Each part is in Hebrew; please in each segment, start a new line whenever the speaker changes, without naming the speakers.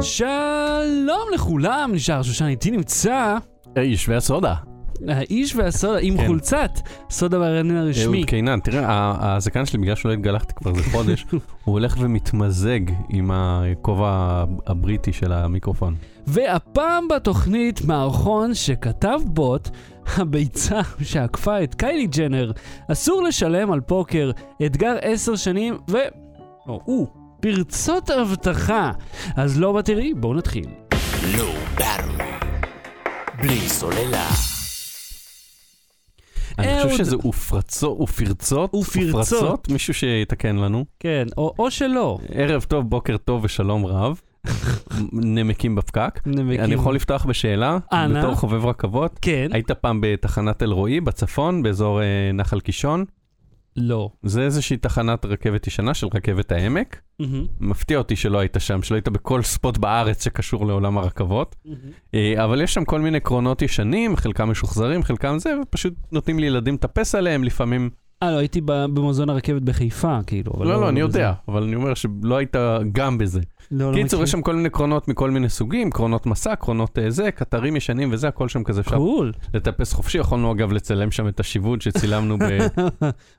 שלום לכולם, נשאר שושן, איתי נמצא
האיש והסודה.
האיש והסודה עם
כן. אוקיי.
חולצת סודה ברעיון הרשמי.
אהוד קינן, תראה, ה- הזקן שלי, בגלל שלא התגלחתי כבר איזה חודש, הוא הולך ומתמזג עם הכובע הבריטי של המיקרופון.
והפעם בתוכנית מערכון שכתב בוט, הביצה שעקפה את קיילי ג'נר, אסור לשלם על פוקר, אתגר עשר שנים ו... או, הוא, פרצות אבטחה. אז לא בתראי, בואו נתחיל.
לא ברמי. בלי סוללה.
אני
אהוד.
חושב שזה אופרצו- אופרצות,
אופרצות.
אופרצות, מישהו שיתקן לנו.
כן, או, או שלא.
ערב טוב, בוקר טוב ושלום רב. נמקים בפקק.
נמקים.
אני יכול לפתוח בשאלה?
אנא.
בתור חובב רכבות.
כן,
היית פעם בתחנת אלרועי בצפון, באזור אה, נחל קישון?
לא.
זה איזושהי תחנת רכבת ישנה של רכבת העמק.
מהמם,
מפתיע אותי שלא היית שם, שלא היית בכל ספוט בארץ שקשור לעולם הרכבות.
מהמם.
אה, אבל יש שם כל מיני קרונות ישנים, חלקם משוחזרים, חלקם זה, ופשוט נותנים לילדים לטפס עליהם לפעמים.
אה, לא, הייתי ב- במוזיאון הרכבת בחיפה, כאילו. אבל
לא, לא, אני
בזה.
יודע, אבל אני אומר שלא היית גם בזה.
לא, לא
קיצור,
מכיר.
יש שם כל מיני קרונות מכל מיני סוגים, קרונות מסע, קרונות אה, זה, קטרים ישנים וזה, הכל שם כזה אפשר
קול.
לטפס חופשי. יכולנו אגב לצלם שם את השיווד שצילמנו ב...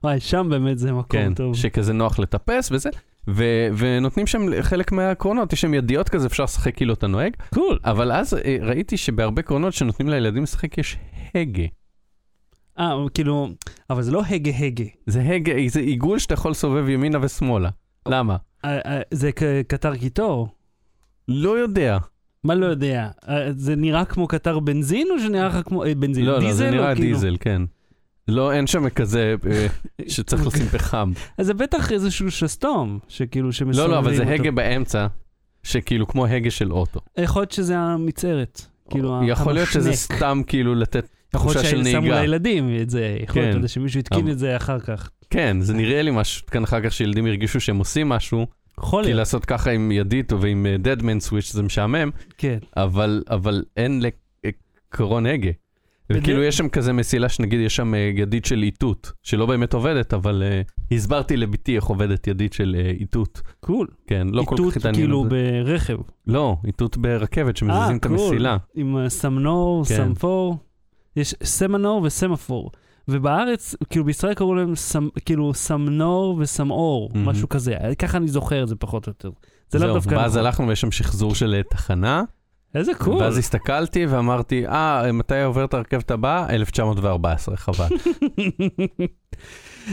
וואי, שם באמת זה מקום
כן,
טוב.
שכזה נוח לטפס וזה. ו- ונותנים שם חלק מהקרונות, יש שם ידיות כזה, אפשר לשחק כאילו אתה נוהג.
קול.
אבל אז אה, ראיתי שבהרבה קרונות שנותנים לילדים לשחק יש הגה.
אה, כאילו, אבל זה לא הגה הגה.
זה הגה, זה עיגול שאתה יכול לסובב ימינה ושמאלה. למה?
אה, אה, זה כ- קטר קיטור.
לא יודע.
מה לא יודע? אה, זה נראה כמו קטר בנזין או שנראה לך כמו אה, בנזין?
לא, לא,
דיזל
זה
או
נראה
כאילו-
דיזל, כן. לא, אין שם כזה אה, שצריך לשים פחם.
אז אה, זה בטח איזשהו שסתום, שכאילו,
לא,
שמסובבים
לא, אבל זה
אותו. אה,
הגה באמצע, שכאילו כמו הגה של אוטו.
יכול להיות שזה המצערת. כאילו, ה-
יכול להיות שזה
המחנק.
סתם כאילו לתת
יכול
תחושה של
להיות ששמו
נהיגה.
לילדים את זה, יכול להיות
כן.
אתה יודע, שמישהו התקין
אבל-
את זה אחר כך.
כן, זה נראה לי משהו כאן אחר כך שילדים ירגישו שהם עושים משהו,
יכול
כי
להיות,
לעשות ככה עם ידית או ועם אה, Deadman Switch זה משעמם,
כן.
אבל, אבל אין לקרון הגה.
בדרך-
וכאילו יש שם כזה מסילה שנגיד יש שם אה, ידית של איתות, שלא באמת עובדת, אבל אה, הסברתי לביתי איך עובדת ידית של אה, איתות.
קול.
כן, לא כל כך
איתות
התעניינו
כאילו
בזה.
ברכב.
לא, איתות ברכבת שמזיזים
אה,
את
cool.
המסילה.
עם אה, סמנור,
כן.
סמפור. יש סמנור וסמפור. ובארץ, כאילו בישראל קראו להם סמ, כאילו סמנור וסמאור,
מהמם.
משהו כזה. ככה אני זוכר את זה פחות או יותר. זה
זהו,
לא דווקא...
ואז
נכון.
הלכנו ויש שם שחזור של אה, תחנה,
איזה קול.
ואז הסתכלתי ואמרתי, אה, מתי עוברת הרכבת הבאה? 1914, חבל.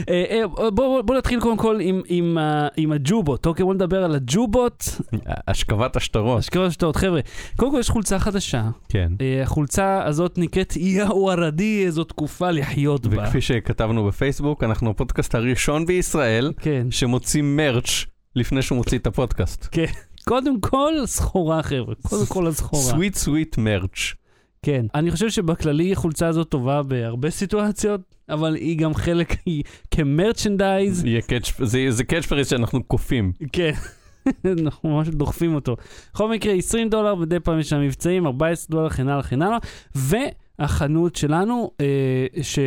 אה, אה, בואו בוא, בוא נתחיל קודם כל עם, עם, ה- עם הג'ובות, אוקיי? בואו נדבר על הג'ובות.
אוקיי. השכבת השטרות.
אשכרה שטות. חבר'ה, קודם כל יש חולצה חדשה.
כן.
אה, החולצה הזאת נקראת יאו ערדי, איזו תקופה לחיות בה.
וכפי שכתבנו בפייסבוק, אנחנו הפודקאסט הראשון בישראל
כן.
שמוציא מרץ' לפני שהוא מוציא את הפודקאסט.
קודם כל סחורה חבר'ה, קודם כל הסחורה.
סוויט סוויט מרץ'.
כן. אני חושב שבכללי החולצה הזאת טובה בהרבה סיטואציות, אבל היא גם חלק, היא כמרצ'נדייז,
יהיה catch- זה- זה קאץ' פריז שאנחנו כופים.
כן. אנחנו ממש דוחפים אותו. בכל מקרה, 20 דולר, מדי פעם יש שם מבצעים, 14 דולר, וכן הלאה, וכן הלאה. והחנות שלנו, אה, ש...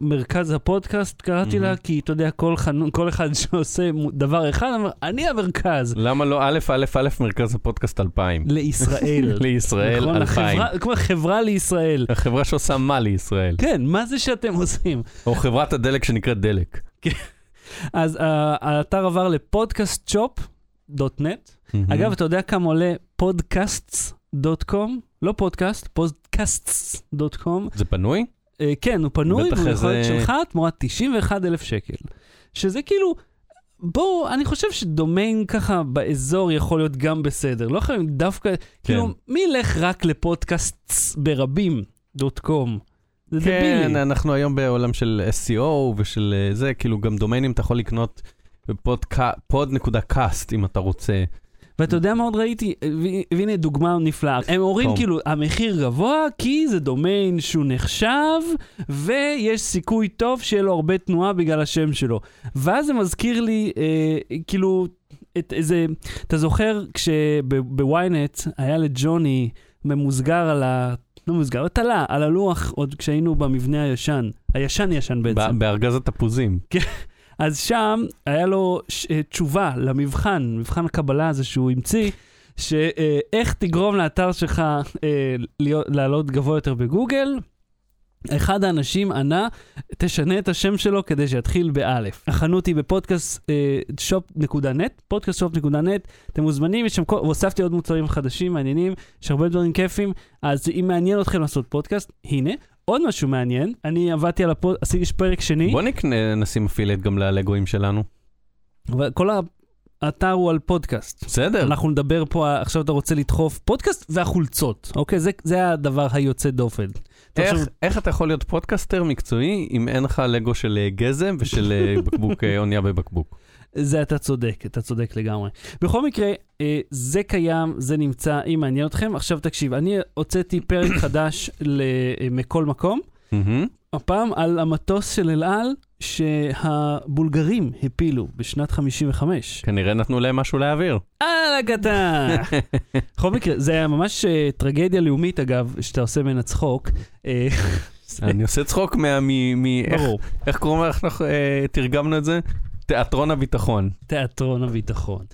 מרכז הפודקאסט, קראתי לה,
מהמם.
כי אתה יודע, כל, חנון, כל אחד שעושה מו- דבר אחד, אמר, אני המרכז
למה לא א' א' א' מרכז הפודקאסט 2000?
לישראל.
לישראל
נכון?
2000.
החברה- כמו חברה לישראל.
החברה שעושה מה לישראל?
כן, מה זה שאתם עושים?
או חברת הדלק שנקראת דלק.
אז uh, האתר עבר לפודקאסטשופ.נט.
Mm-hmm.
אגב, אתה יודע כמה עולה פודקאסטס.קום? לא פודקאסט, פודקאסטס.קום.
זה פנוי?
Uh, כן, הוא פנוי,
בטח
והוא יכול להיות
איזה-
שלך תמורת 91,000 שקל. שזה כאילו... בואו, אני חושב שדומיין ככה באזור יכול להיות גם בסדר. לא חייבים דווקא, כאילו,
כן.
מי ילך רק לפודקאסטס ברבים דוט קום? זה דבילי.
כן, אנחנו היום בעולם של SEO ושל אה, זה, כאילו גם דומיינים אתה יכול לקנות בפודקא- pod.cast אם אתה רוצה.
ואתה יודע מה עוד ראיתי? ו- והנה דוגמה נפלאה. הם אומרים
טוב.
כאילו, המחיר גבוה כי זה דומיין שהוא נחשב, ויש סיכוי טוב שיהיה לו הרבה תנועה בגלל השם שלו. ואז זה מזכיר לי, אה, כאילו, את איזה... אתה זוכר כשב-ynet היה לג'וני ממוסגר על ה... לא מוסגר, הוא תלה, על הלוח עוד כשהיינו במבנה הישן. הישן ישן בעצם.
ב- בארגז התפוזים.
אז שם היה לו ש... אה, תשובה למבחן, מבחן הקבלה הזה שהוא המציא, שאיך תגרום לאתר שלך אה, להיות- לעלות גבוה יותר בגוגל. אחד האנשים ענה, תשנה את השם שלו כדי שיתחיל באלף. החנות היא בפודקאסט אה, shop.net, פודקאסט shop.net, אתם מוזמנים, יש שם, כל- והוספתי עוד מוצרים חדשים, מעניינים, יש הרבה דברים כיפים, אז אם מעניין אתכם לעשות פודקאסט, הנה. עוד משהו מעניין, אני עבדתי על הפוד... עשיתי יש פרק שני.
בוא נקנה, נשים אפילייט גם ללגואים שלנו.
אבל כל האתר הוא על פודקאסט.
בסדר.
אנחנו נדבר פה, עכשיו אתה רוצה לדחוף פודקאסט והחולצות, אוקיי? זה, זה הדבר היוצא דופן. אתה
איך,
עכשיו-
איך אתה יכול להיות פודקאסטר מקצועי אם אין לך לגו של אה, גזם ושל אה, בקבוק, אה, אונייה בבקבוק?
זה אתה צודק, אתה צודק לגמרי. בכל מקרה, אה, זה קיים, זה נמצא, אם מעניין אתכם. עכשיו תקשיב, אני הוצאתי פרק חדש ל- אה, מכל מקום,
מהמם.
הפעם על המטוס של אל על שהבולגרים הפילו בשנת 55.
כנראה נתנו להם משהו להעביר.
על הקטן. בכל מקרה, זה היה ממש אה, טרגדיה לאומית, אגב, שאתה עושה ממנה צחוק. אה, זה-
אני עושה צחוק מה... מ- מ- איך-
ברור,
איך קוראים לך? אנחנו אה, תרגמנו את זה? תיאטרון הביטחון.
תיאטרון הביטחון.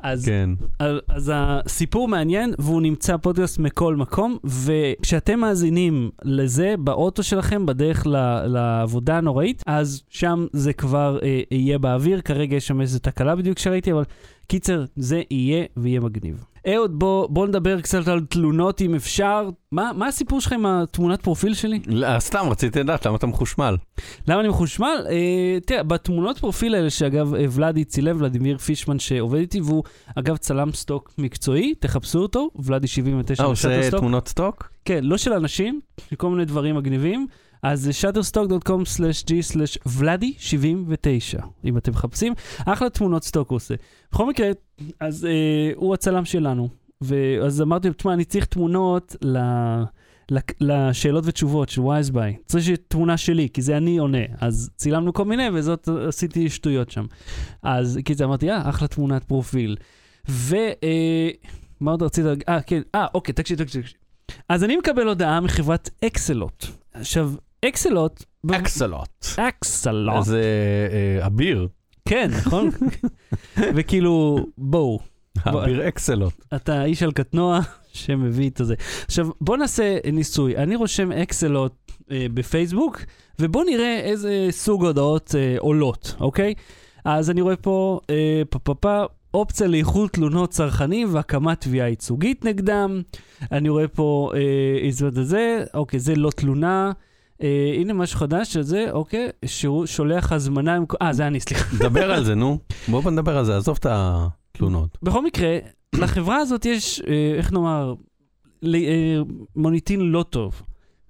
אז,
כן.
אז, אז הסיפור מעניין, והוא נמצא פודקאסט מכל מקום, וכשאתם מאזינים לזה באוטו שלכם, בדרך ל, לעבודה הנוראית, אז שם זה כבר אה, יהיה באוויר, כרגע יש שם איזו תקלה בדיוק שראיתי, אבל קיצר, זה יהיה ויהיה מגניב. אהוד, בוא, בוא נדבר קצת על תלונות אם אפשר. מה, מה הסיפור שלך עם התמונת פרופיל שלי?
לא, סתם, רציתי לדעת למה אתה מחושמל.
למה אני מחושמל? אה, תראה, בתמונות פרופיל האלה, שאגב, אה, ולאדי צילם, ולדימיר פישמן שעובד איתי, והוא אגב צלם סטוק מקצועי, תחפשו אותו, ולאדי 79
אה, הוא
בשאטר
עושה
סטוק.
תמונות סטוק?
כן, לא של אנשים, של כל מיני דברים מגניבים. אז אה, shutterstock.com/g/vladi79, אם אתם מחפשים. אחלה תמונות סטוק הוא עושה. בכל מקרה, אז אה, הוא הצלם שלנו. ואז אמרתי לו, תשמע, אני צריך תמונות ל... לק- לשאלות ותשובות של וייז ביי. צריך שיהיה תמונה שלי, כי זה אני עונה. אז צילמנו כל מיני, וזאת עשיתי שטויות שם. אז כאילו אמרתי, אה, אחלה תמונת פרופיל. ו... אה, מה עוד רצית? להגיד? אה, כן, אה, אוקיי, תקשיב, תקשיב. תקשיב. אז אני מקבל הודעה מחברת אקסלוט. עכשיו, אקסלוט...
אקסלוט.
אקסלוט.
אז אה, אה, אביר.
כן, נכון? וכאילו, בואו,
אביר אקסלוט.
אתה איש על קטנוע שמביא את זה. עכשיו, בוא נעשה ניסוי. אני רושם אקסלוט אה, בפייסבוק, ובוא נראה איזה סוג הודעות אה, עולות, אוקיי? אז אני רואה פה, אה, פה, פה, פה, אופציה לאיחוד תלונות צרכנים והקמת תביעה ייצוגית נגדם. אני רואה פה אה, הזמנת את זה, אוקיי, זה לא תלונה. אה, הנה משהו חדש שזה, אוקיי, שהוא שולח הזמנה עם... אה, זה אני, סליחה.
דבר על זה, נו. בואו נדבר על זה, עזוב את התלונות.
בכל מקרה, לחברה הזאת יש, אה, איך נאמר, ל- אה, מוניטין לא טוב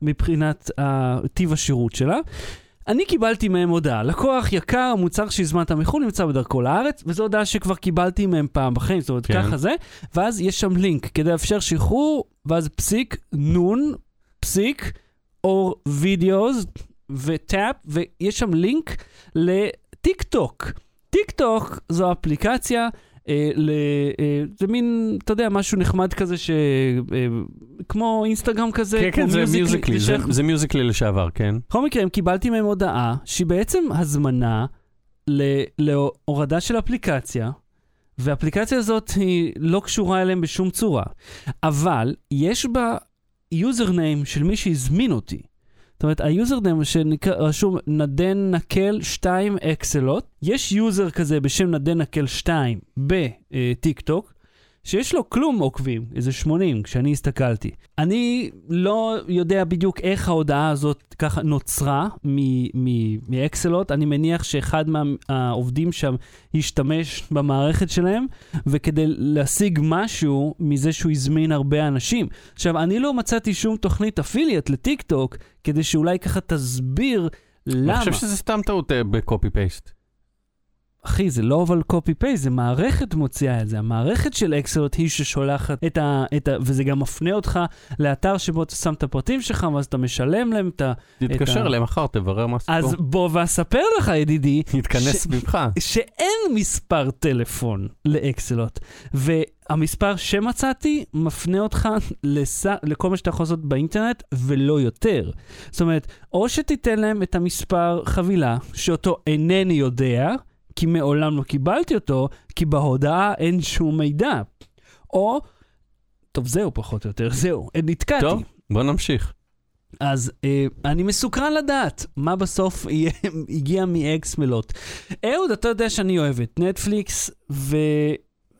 מבחינת אה, טיב השירות שלה. אני קיבלתי מהם הודעה, לקוח יקר, המוצר שהזמנת מחו"ל נמצא בדרכו לארץ, וזו הודעה שכבר קיבלתי מהם פעם בחיים, זאת אומרת,
כן.
ככה זה, ואז יש שם לינק כדי לאפשר שחרור, ואז פסיק, נון, פסיק, או וידאוס, וטאפ, ויש שם לינק לטיק טוק. טיק טוק זו אפליקציה, אה, ל, אה, זה מין, אתה יודע, משהו נחמד כזה, ש, אה, כמו אינסטגרם כזה,
כן, כן,
כמו
זה
מיוזיקלי,
מיוזיקלי, זה-
שייך-
זה מיוזיקלי לשעבר, כן?
בכל מקרה, הם קיבלתי מהם הודעה שהיא בעצם הזמנה ל- להורדה של אפליקציה, והאפליקציה הזאת היא לא קשורה אליהם בשום צורה, אבל יש בה יוזרניים של מי שהזמין אותי. זאת אומרת, היוזרניים שרשום נדן נקל 2 אקסלוט, יש יוזר כזה בשם נדן נקל 2 בטיק טוק, שיש לו כלום עוקבים, איזה 80, כשאני הסתכלתי. אני לא יודע בדיוק איך ההודעה הזאת ככה נוצרה מ- מ- מאקסלוט. אני מניח שאחד מהעובדים שם השתמש במערכת שלהם, וכדי להשיג משהו מזה שהוא הזמין הרבה אנשים. עכשיו, אני לא מצאתי שום תוכנית אפילייט לטיק טוק, כדי שאולי ככה תסביר
אני
למה.
חושב שזה סתם טעות אה, בקופי פייסט.
אחי, זה לא אבל copy-paste, זה מערכת מוציאה את זה. המערכת של אקסלוט היא ששולחת את ה, את ה... וזה גם מפנה אותך לאתר שבו אתה שם את הפרטים שלך, ואז אתה משלם להם את ה...
תתקשר
ה-
אליהם מחר, תברר מה הסיפור.
אז בוא ואספר לך, ידידי,
נתכנס
ש-
סביבך.
שאין מספר טלפון לאקסלוט, והמספר שמצאתי מפנה אותך לס... לכל מה שאתה יכול לעשות באינטרנט, ולא יותר. זאת אומרת, או שתיתן להם את המספר חבילה, שאותו אינני יודע, כי מעולם לא קיבלתי אותו, כי בהודעה אין שום מידע. או, טוב, זהו פחות או יותר, זהו, נתקעתי.
טוב, בוא נמשיך.
אז אה, אני מסוקרן לדעת מה בסוף יהיה- הגיע מאקסמלוט. אהוד, אתה יודע שאני אוהב את נטפליקס,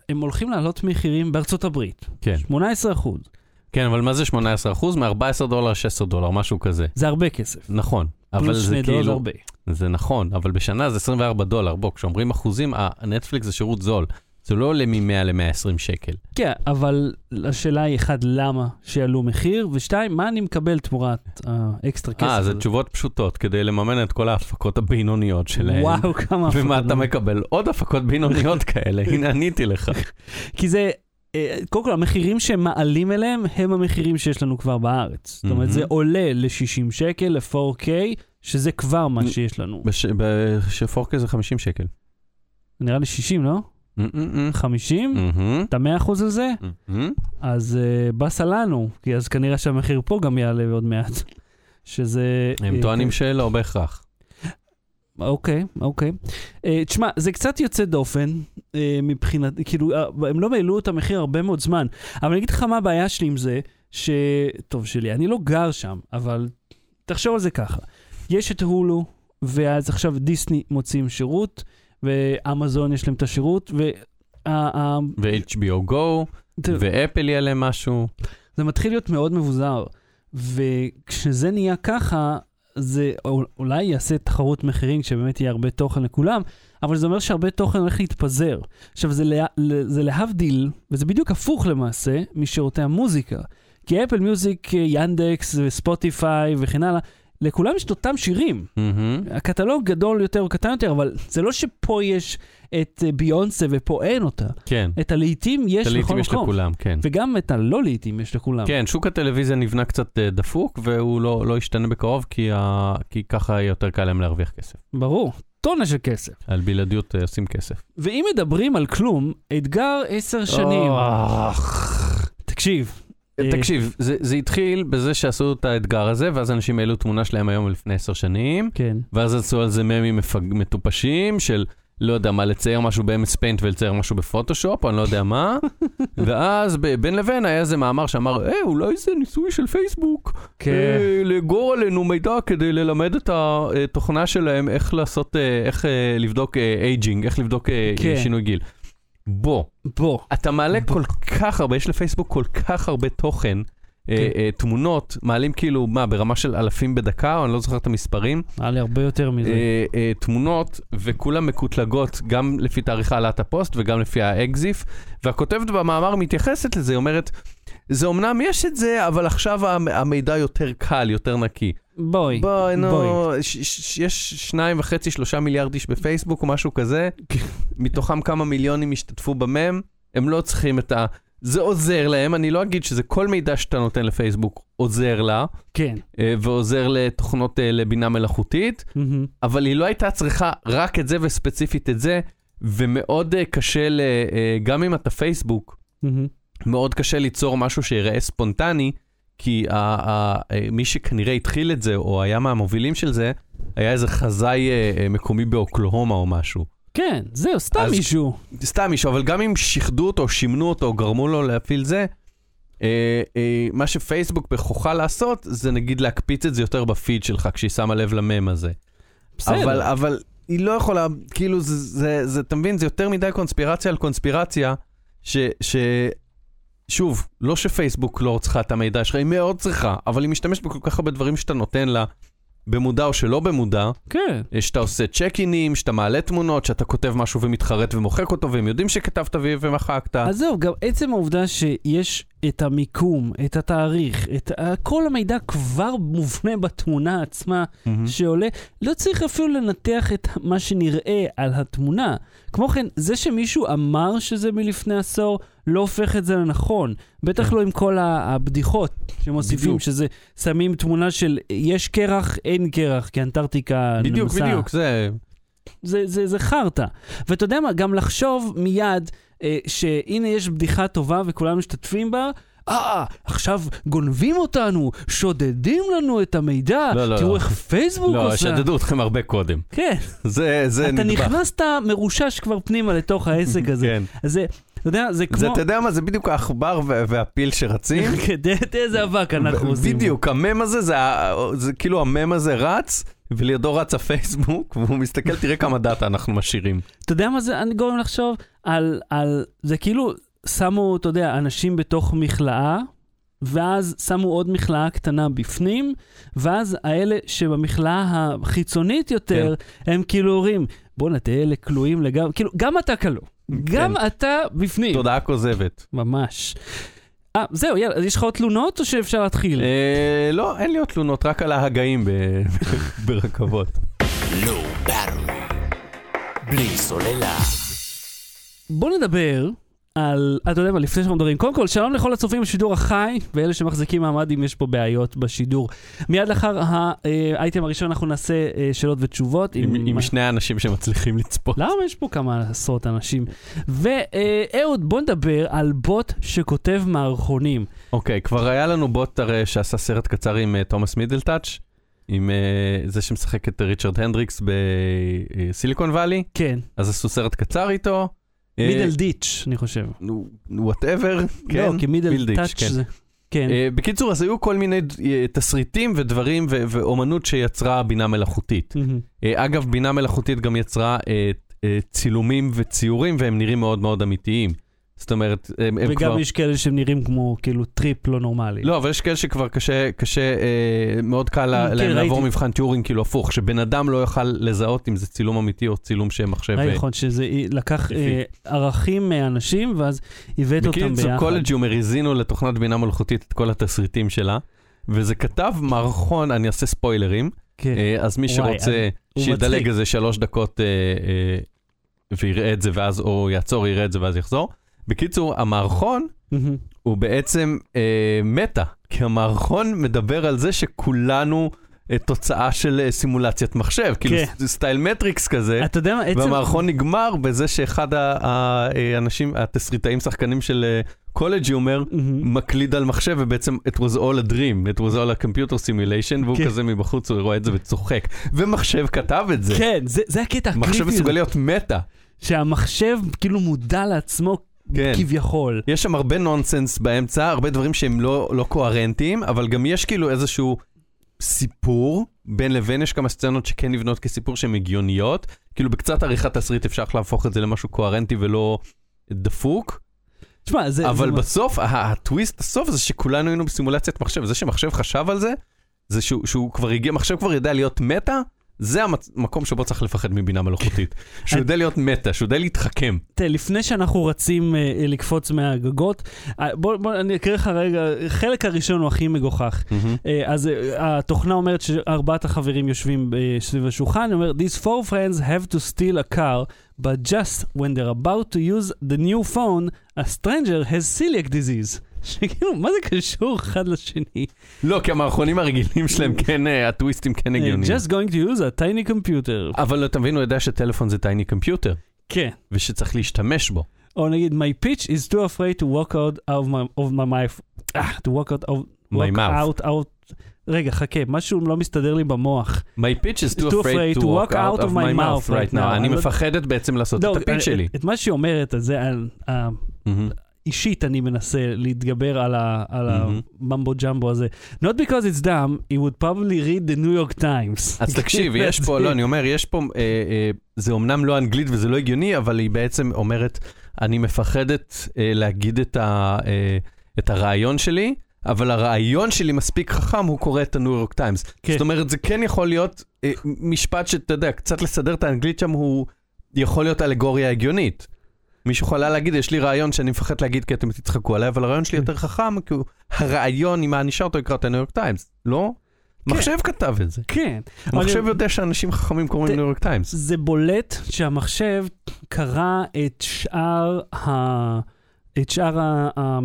והם הולכים להעלות מחירים בארצות הברית.
כן.
18 אחוז,
כן, אבל מה זה 18%? מ-14 דולר, 16 דולר, משהו כזה.
זה הרבה כסף.
נכון. אבל
פלוס
זה
שני דולר זה
כאילו,
הרבה.
זה נכון, אבל בשנה זה 24 דולר. בוא, כשאומרים אחוזים, הנטפליקס זה שירות זול. זה לא עולה מ-100 ל-120 שקל.
כן, אבל השאלה היא, אחד, למה שיעלו מחיר, ושתיים, מה אני מקבל תמורת האקסטרה כסף?
אה, זה
הזה?
תשובות פשוטות, כדי לממן את כל ההפקות הבינוניות שלהן.
וואו, כמה...
ומה
הפקות.
אתה מקבל? עוד הפקות בינוניות כאלה, הנה עניתי לך.
כי זה, אה, קודם כל, המחירים שהם מעלים אליהם, הם המחירים שיש לנו כבר בארץ. זאת אומרת, זה
מהמם.
עולה ל-60 שקל, ל-4K, שזה כבר מה שיש לנו.
שפורקה זה 50 שקל.
נראה לי 60, לא? 50?
מהמם.
אתה 100% על זה?
מהמם.
אז אה, באסה לנו, כי אז כנראה שהמחיר פה גם יעלה עוד מעט. שזה...
הם
אה,
טוענים שלא בהכרח.
אוקיי, אוקיי. אה, תשמע, זה קצת יוצא דופן אה, מבחינת, כאילו, אה, הם לא העלו את המחיר הרבה מאוד זמן, אבל אני אגיד לך מה הבעיה שלי עם זה, ש... טוב שלי, אני לא גר שם, אבל תחשוב על זה ככה. יש את הולו, ואז עכשיו דיסני מוציאים שירות, ואמזון יש להם את השירות, ו... ה- ה-
ו-HBO Go,
תראה,
ואפל יהיה להם משהו.
זה מתחיל להיות מאוד מבוזר, וכשזה נהיה ככה, זה אול- אולי יעשה תחרות מחירים, שבאמת יהיה הרבה תוכן לכולם, אבל זה אומר שהרבה תוכן הולך להתפזר. עכשיו, זה, לה, ל- זה להבדיל, וזה בדיוק הפוך למעשה, משירותי המוזיקה. כי אפל מיוזיק, אה, ינדקס וספוטיפיי וכן הלאה, לכולם יש את אותם שירים.
מהמם.
הקטלוג גדול יותר או קטן יותר, אבל זה לא שפה יש את אה, ביונסה ופה אין אותה.
כן,
את הלעיתים יש בכל
טליטים יש
מקום. אה.
לכולם, כן.
וגם את הלא לעיתים יש לכולם.
כן, שוק הטלוויזיה נבנה קצת אה, דפוק, והוא לא לא ישתנה בקרוב, כי ה- כי ככה יותר קל להם להרוויח כסף.
ברור, טונה של כסף.
על בלעדיות אה, עושים כסף.
ואם מדברים על כלום, אתגר עשר שנים. תקשיב. אה,
תקשיב, זה, זה התחיל בזה שעשו את האתגר הזה, ואז אנשים העלו תמונה שלהם היום לפני עשר שנים,
כן.
ואז עשו על זה ממים מפג... מטופשים של, לא יודע מה, לצייר משהו ב-MS Paint ולצייר משהו בפוטושופ, או אני לא יודע מה, ואז ב- בין לבין היה איזה מאמר שאמר, אה, אולי זה ניסוי של פייסבוק,
כן.
אה, לאגור עלינו מידע כדי ללמד את התוכנה שלהם איך לעשות, אה, איך אה, לבדוק אייג'ינג, איך לבדוק אה,
כן.
שינוי גיל. בוא.
בוא.
אתה מעלה כל כך הרבה, יש לפייסבוק כל כך הרבה תוכן, אה,
כן.
אה, תמונות, מעלים כאילו, מה, ברמה של אלפים בדקה, או אני לא זוכר את המספרים,
היה לי הרבה יותר מזה.
אה, אה, תמונות, וכולם מקוטלגות, גם לפי תאריך העלאת הפוסט וגם לפי האקזיף, והכותבת במאמר מתייחסת לזה, היא אומרת, זה אמנם יש את זה, אבל עכשיו המ- המידע יותר קל, יותר נקי.
בואי.
בואי, נו, ש- ש- יש שניים וחצי, שלושה מיליארד איש בפייסבוק או משהו כזה, מתוכם כמה מיליונים השתתפו במם, הם לא צריכים את ה... זה עוזר להם, אני לא אגיד שזה כל מידע שאתה נותן לפייסבוק עוזר לה,
כן.
אה, ועוזר לתוכנות אה, לבינה מלאכותית,
מהמם.
אבל היא לא הייתה צריכה רק את זה וספציפית את זה, ומאוד אה, קשה, ל- אה, גם אם אתה פייסבוק,
מהמם.
מאוד קשה ליצור משהו שיראה ספונטני, כי ה- ה- אה, מי שכנראה התחיל את זה, או היה מהמובילים של זה, היה איזה חזאי אה, אה, מקומי באוקלהומה או משהו.
כן, זהו, סתם
אז-
מישהו.
סתם מישהו, אבל גם אם שיחדו אותו, שימנו אותו, גרמו לו להפעיל זה, אה, אה, מה שפייסבוק בכוחה לעשות, זה נגיד להקפיץ את זה יותר בפיד שלך, כשהיא שמה לב למם הזה. אבל,
בסדר.
אבל היא לא יכולה, כאילו, זה, זה, זה, אתה מבין, זה יותר מדי קונספירציה על קונספירציה, ש... ש... שוב, לא שפייסבוק לא צריכה את המידע שלך, היא מאוד צריכה, אבל היא משתמשת בכל כך הרבה דברים שאתה נותן לה, במודע או שלא במודע,
כן.
אה, שאתה עושה צ'ק-אינים, שאתה מעלה תמונות, שאתה כותב משהו ומתחרט ומוחק אותו, והם יודעים שכתבת ו- ומחקת.
אז זהו, גם עצם העובדה שיש את המיקום, את התאריך, את ה- כל המידע כבר מובנה בתמונה עצמה
Mm-hmm.
שעולה. לא צריך אפילו לנתח את מה שנראה על התמונה. כמו כן, זה שמישהו אמר שזה מלפני עשור, לא הופך את זה לנכון. בטח
כן.
לא עם כל ה- הבדיחות שמוסיפים,
בדיוק.
שזה שמים תמונה של יש קרח, אין קרח, כי אנטארקטיקה נמסה.
בדיוק, בדיוק, זה...
זה, זה, זה חרטא. ואתה יודע מה, גם לחשוב מיד אה, שהנה יש בדיחה טובה וכולם משתתפים בה, אה, עכשיו גונבים אותנו, שודדים לנו את המידע,
לא, לא,
תראו
לא.
איך פייסבוק
לא,
עושה.
שדדו אתכם הרבה קודם.
כן,
זה זה
אתה
נדבך.
נכנסת מרושש כבר פנימה לתוך העסק הזה.
כן.
אז זה, אתה יודע, זה כמו... כן,
זה, אתה יודע מה, זה בדיוק העכבר וה- והפיל שרצים.
כדי תראה איזה אבק אנחנו
ו-
עושים.
בדיוק, המם הזה, זה ה- זה כאילו המם הזה רץ, ולידו רץ הפייסבוק, והוא מסתכל, תראה כמה דאטה אנחנו משאירים.
אתה יודע מה זה, אני גורם לחשוב על, על, זה כאילו שמו, אתה יודע, אנשים בתוך מכלאה, ואז שמו עוד מכלאה קטנה בפנים, ואז האלה שבמכלאה החיצונית יותר, כן. הם כאילו אומרים, בואנה, תהיה אלה כלואים לגמרי, כאילו, גם אתה כלוא,
כן.
גם אתה בפנים,
תודעה כוזבת.
ממש. אה, זהו, יאללה, אז יש לך עוד תלונות או שאפשר להתחיל?
אה, לא, אין לי עוד תלונות, רק על ההגאים ב- ברכבות.
לא ברור. בלי סוללה.
בוא נדבר על, אתה יודע מה, לפני שאנחנו מדברים, קודם כל, שלום לכל הצופים בשידור החי, ואלה שמחזיקים מעמד אם יש פה בעיות בשידור. מיד לאחר אה, האייטם הראשון אנחנו נעשה אה, שאלות ותשובות.
עם- עם שני האנשים שמצליחים לצפות.
למה יש פה כמה עשרות אנשים? ואהוד, בוא נדבר על בוט שכותב מערכונים.
אוקיי, כבר היה לנו בוט הרי שעשה סרט קצר עם אה, תומאס מידלטאץ', עם אה, זה שמשחק את ריצ'רד הנדריקס בסיליקון וואלי,
כן,
אז עשו סרט קצר איתו. אה,
מידל דיץ', אני חושב.
נו, וואטאבר, כן.
לא, כי מידל
מידל
טאץ'
דיץ', כן.
זה... כן,
אה, בקיצור, אז היו כל מיני אה, תסריטים ודברים ו- ואומנות שיצרה בינה מלאכותית.
מהמם.
אה, אגב, בינה מלאכותית גם יצרה אה, אה, צילומים וציורים, והם נראים מאוד מאוד אמיתיים. זאת אומרת, הם, הם כבר...
וגם יש כאלה שהם נראים כמו כאילו טריפ לא נורמלי.
לא, אבל יש כאלה שכבר קשה, קשה, אה, מאוד קל לה-
כן,
להם
ראיתי.
לעבור מבחן טיורינג כאילו הפוך, שבן אדם לא יוכל לזהות אם זה צילום אמיתי או צילום שמחשב... אה,
נכון, שזה לקח
יפי.
אה, ערכים מאנשים, ואז הבאת אותם ביחד.
בקיצור, קולג'יום הריזינו לתוכנת בינה מלאכותית את כל התסריטים שלה, וזה כתב מערכון, אני אעשה ספוילרים,
כן.
אה, אז מי
וואי,
שרוצה,
הוא מצחיק.
שידלג איזה שלוש דקות אה, אה, ויראה את זה ואז, או יעצור, יראה את זה ואז יחזור. בקיצור, המערכון
מהמם.
הוא בעצם אה, מטה, כי המערכון מדבר על זה שכולנו אה, תוצאה של אה, סימולציית מחשב, כאילו
כן.
ס- סטייל מטריקס כזה.
אתה יודע מה, עצם...
והמערכון נגמר בזה שאחד ה- ה- אה, האנשים, התסריטאים, שחקנים של אה, קולג'י אומר,
מהמם.
מקליד על מחשב ובעצם it was all a dream, it was all a computer simulation, והוא
כן.
כזה מבחוץ, הוא רואה את זה וצוחק. ומחשב כתב את זה.
כן, זה- זה הקטע הקריטי.
מחשב מסוגל להיות מטה.
שהמחשב כאילו מודע לעצמו
כן.
כביכול.
יש שם הרבה נונסנס באמצע, הרבה דברים שהם לא, לא קוהרנטיים, אבל גם יש כאילו איזשהו סיפור, בין לבין יש כמה סצנות שכן נבנות כסיפור שהן הגיוניות, כאילו בקצת עריכת תסריט אפשר להפוך את זה למשהו קוהרנטי ולא דפוק,
תשמע, זה...
אבל
זה-
בסוף, ה- הטוויסט בסוף זה שכולנו היינו בסימולציית מחשב, זה שמחשב חשב על זה, זה שהוא, שהוא כבר הגיע, מחשב כבר יודע להיות מטה, זה המקום שבו צריך לפחד מבינה מלאכותית. שהוא יודע להיות מטה, שהוא יודע להתחכם.
תראה, לפני שאנחנו רצים אה, אה, לקפוץ מהגגות, אה, בוא, בוא, אני אקריא לך רגע, חלק הראשון הוא הכי מגוחך. אה, אז אה, התוכנה אומרת שארבעת החברים יושבים אה, סביב השולחן, היא אומרת, These four friends have to steal a car, but just when they're about to use the new phone, a stranger has celiac disease. שכאילו, מה זה קשור אחד לשני?
לא, כי המערכונים הרגילים שלהם כן, אה, הטוויסטים כן
אה,
הגיוניים.
Just going to use a tiny computer.
אבל אתה מבין, הוא יודע שטלפון זה טייני קמפיוטר,
כן.
ושצריך להשתמש בו.
או נגיד, My pitch is too afraid to walk out of my, of my mouth. Ah, to walk out of...
My
walk
mouth.
Out, out. רגע, חכה, משהו לא מסתדר לי במוח.
My pitch is too afraid to walk out of my mouth right now. אני
לא-
מפחדת בעצם לעשות
לא,
את הפיץ שלי.
את מה שהיא אומרת, אז זה... אה, על- ה-
מהמם.
אישית אני מנסה להתגבר על, ה, על
מהמם.
הממבו ג'מבו הזה. Not because it's dumb, he would probably read the New York Times.
אז תקשיב, יש פה, לא, אני אומר, יש פה, אה, אה, זה אומנם לא אנגלית וזה לא הגיוני, אבל היא בעצם אומרת, אני מפחדת אה, להגיד את ה- אה, את הרעיון שלי, אבל הרעיון שלי מספיק חכם, הוא קורא את הניו יורק טיימס.
כן.
זאת אומרת, זה כן יכול להיות אה, משפט שאתה יודע, קצת לסדר את האנגלית שם, הוא יכול להיות אלגוריה הגיונית. מישהו יכול היה להגיד, יש לי רעיון שאני מפחד להגיד כי אתם תצחקו עליי, אבל
כן.
הרעיון שלי יותר חכם, כי הוא הרעיון עם הענישה אותו יקרא את הניו יורק טיימס, לא?
כן.
מחשב כתב את זה.
כן.
מחשב
אבל-
יודע שאנשים חכמים
ת-
קוראים ניו יורק טיימס.
זה בולט שהמחשב קרא את שאר, ה... את שאר ה... ה...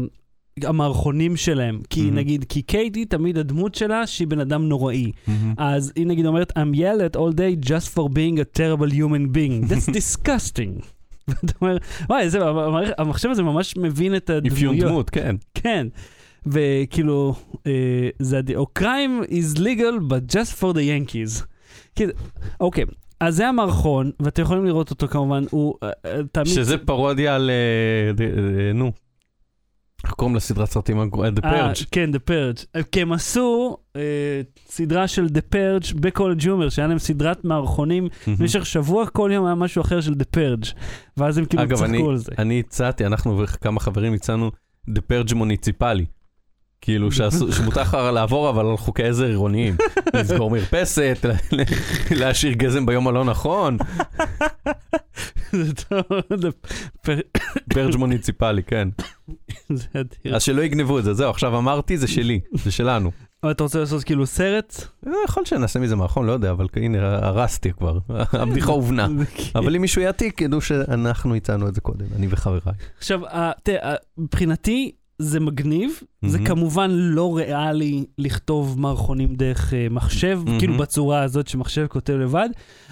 המערכונים שלהם. כי
Mhm.
נגיד, כי קייטי תמיד הדמות שלה שהיא בן אדם נוראי. אז היא נגיד אומרת, I'm yelled all day just for being a terrible human being. That's disgusting. ואתה אומר, וואי, איזה, המערכ- המחשב הזה ממש מבין את
אפיון
הדמויות.
דמות, כן.
כן. וכאילו, אה, זה הד... או crime is legal but just for the Yankees. כאילו, אוקיי, אז זה המערכון, ואתם יכולים לראות אותו כמובן, הוא אה, אה, תמיד...
שזה פרודיה על... אה, ד- אה, נו. איך קוראים לסדרת סרטים? הגרועה? The
אה,
Purge.
כן, The Purge. אה, כי הם עשו אה, סדרה של The Purge בכל ג'ומר, שהיה להם סדרת מערכונים Mm-hmm. במשך שבוע, כל יום היה משהו אחר של The Purge. ואז הם כאילו
אגב,
צחקו על זה.
אני הצעתי, אנחנו וכמה חברים הצענו The Purge מוניציפלי. כאילו שעשו- שמותר לך לעבור אבל על חוקי עזר עירוניים. לסגור מרפסת, ל- ל- להשאיר גזם ביום הלא נכון,
זה טוב, The Purge,
פרג' מוניציפלי, כן.
זה אדיר.
אז שלא יגנבו את זה, זהו, עכשיו אמרתי, זה שלי, זה שלנו.
אבל אתה רוצה לעשות כאילו סרט?
אה, יכול שנעשה מזה מערכון, לא יודע, אבל הנה, הרסתי כבר, הבדיחה הובנה. אה,
כאילו-
אבל אם מישהו יעתיק, ידעו שאנחנו הצענו את זה קודם, אני וחבריי.
עכשיו, ה- תראה, ה- מבחינתי זה מגניב, זה
Mhm.
כמובן לא ריאלי לכתוב מערכונים דרך אה, מחשב,
Mhm.
כאילו בצורה הזאת שמחשב כותב לבד,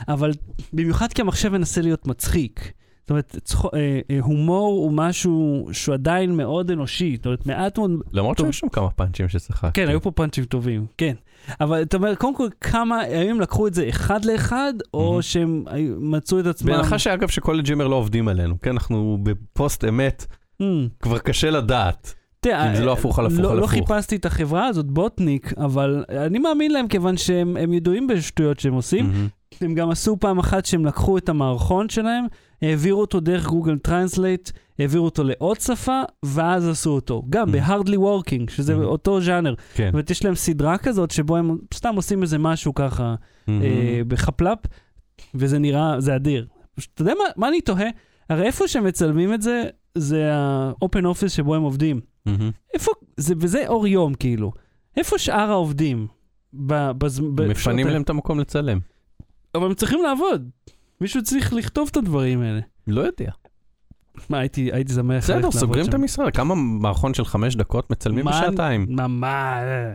אבל במיוחד כי המחשב מנסה להיות מצחיק. זאת אומרת, צחו- אה, אה, הומור הוא משהו שהוא עדיין מאוד אנושי, זאת אומרת, מעט מאוד...
למרות
טוב.
שיש שם כמה פאנצ'ים שצחקתי.
כן, היו פה פאנצ'ים טובים, כן. אבל אתה אומר, קודם כל, כמה, האם הם לקחו את זה אחד לאחד, או
Mhm.
שהם היו- מצאו את עצמם...
בהנחה שאגב שכל הג'ימר לא עובדים עלינו, כן, אנחנו בפוסט אמת,
Mm.
כבר קשה לדעת,
תראה,
אם זה לא הפוך על הפוך
לא,
על
לא
הפוך.
חיפשתי את החברה הזאת, בוטניק, אבל אני מאמין להם כיוון שהם הם ידועים בשטויות שהם עושים.
מהמם.
הם גם עשו פעם אחת שהם לקחו את המערכון שלהם, העבירו אותו דרך גוגל טרנסלייט, העבירו אותו לעוד שפה, ואז עשו אותו. גם
Mhm.
ב-Hardly Working, שזה
Mhm.
אותו ז'אנר.
כן.
זאת אומרת, יש להם סדרה כזאת שבו הם סתם עושים איזה משהו ככה אה, בחפל"פ, וזה נראה, זה אדיר. פשוט, אתה יודע מה, מה אני תוהה? הרי איפה שהם מצלמים את זה, זה האופן אופיס שבו הם עובדים.
מהמם.
איפה, זה, וזה אור יום כאילו, איפה שאר העובדים? ב, בז, ב,
מפנים להם את המקום לצלם.
אבל הם צריכים לעבוד. מישהו צריך לכתוב את הדברים האלה.
לא יודע.
מה, הייתי, הייתי שמח ללכת
בסדר,
לעבוד
סוגרים
שם.
את המשרד, כמה מערכון של חמש דקות מצלמים
מה-
בשעתיים?
מה, מה? אה.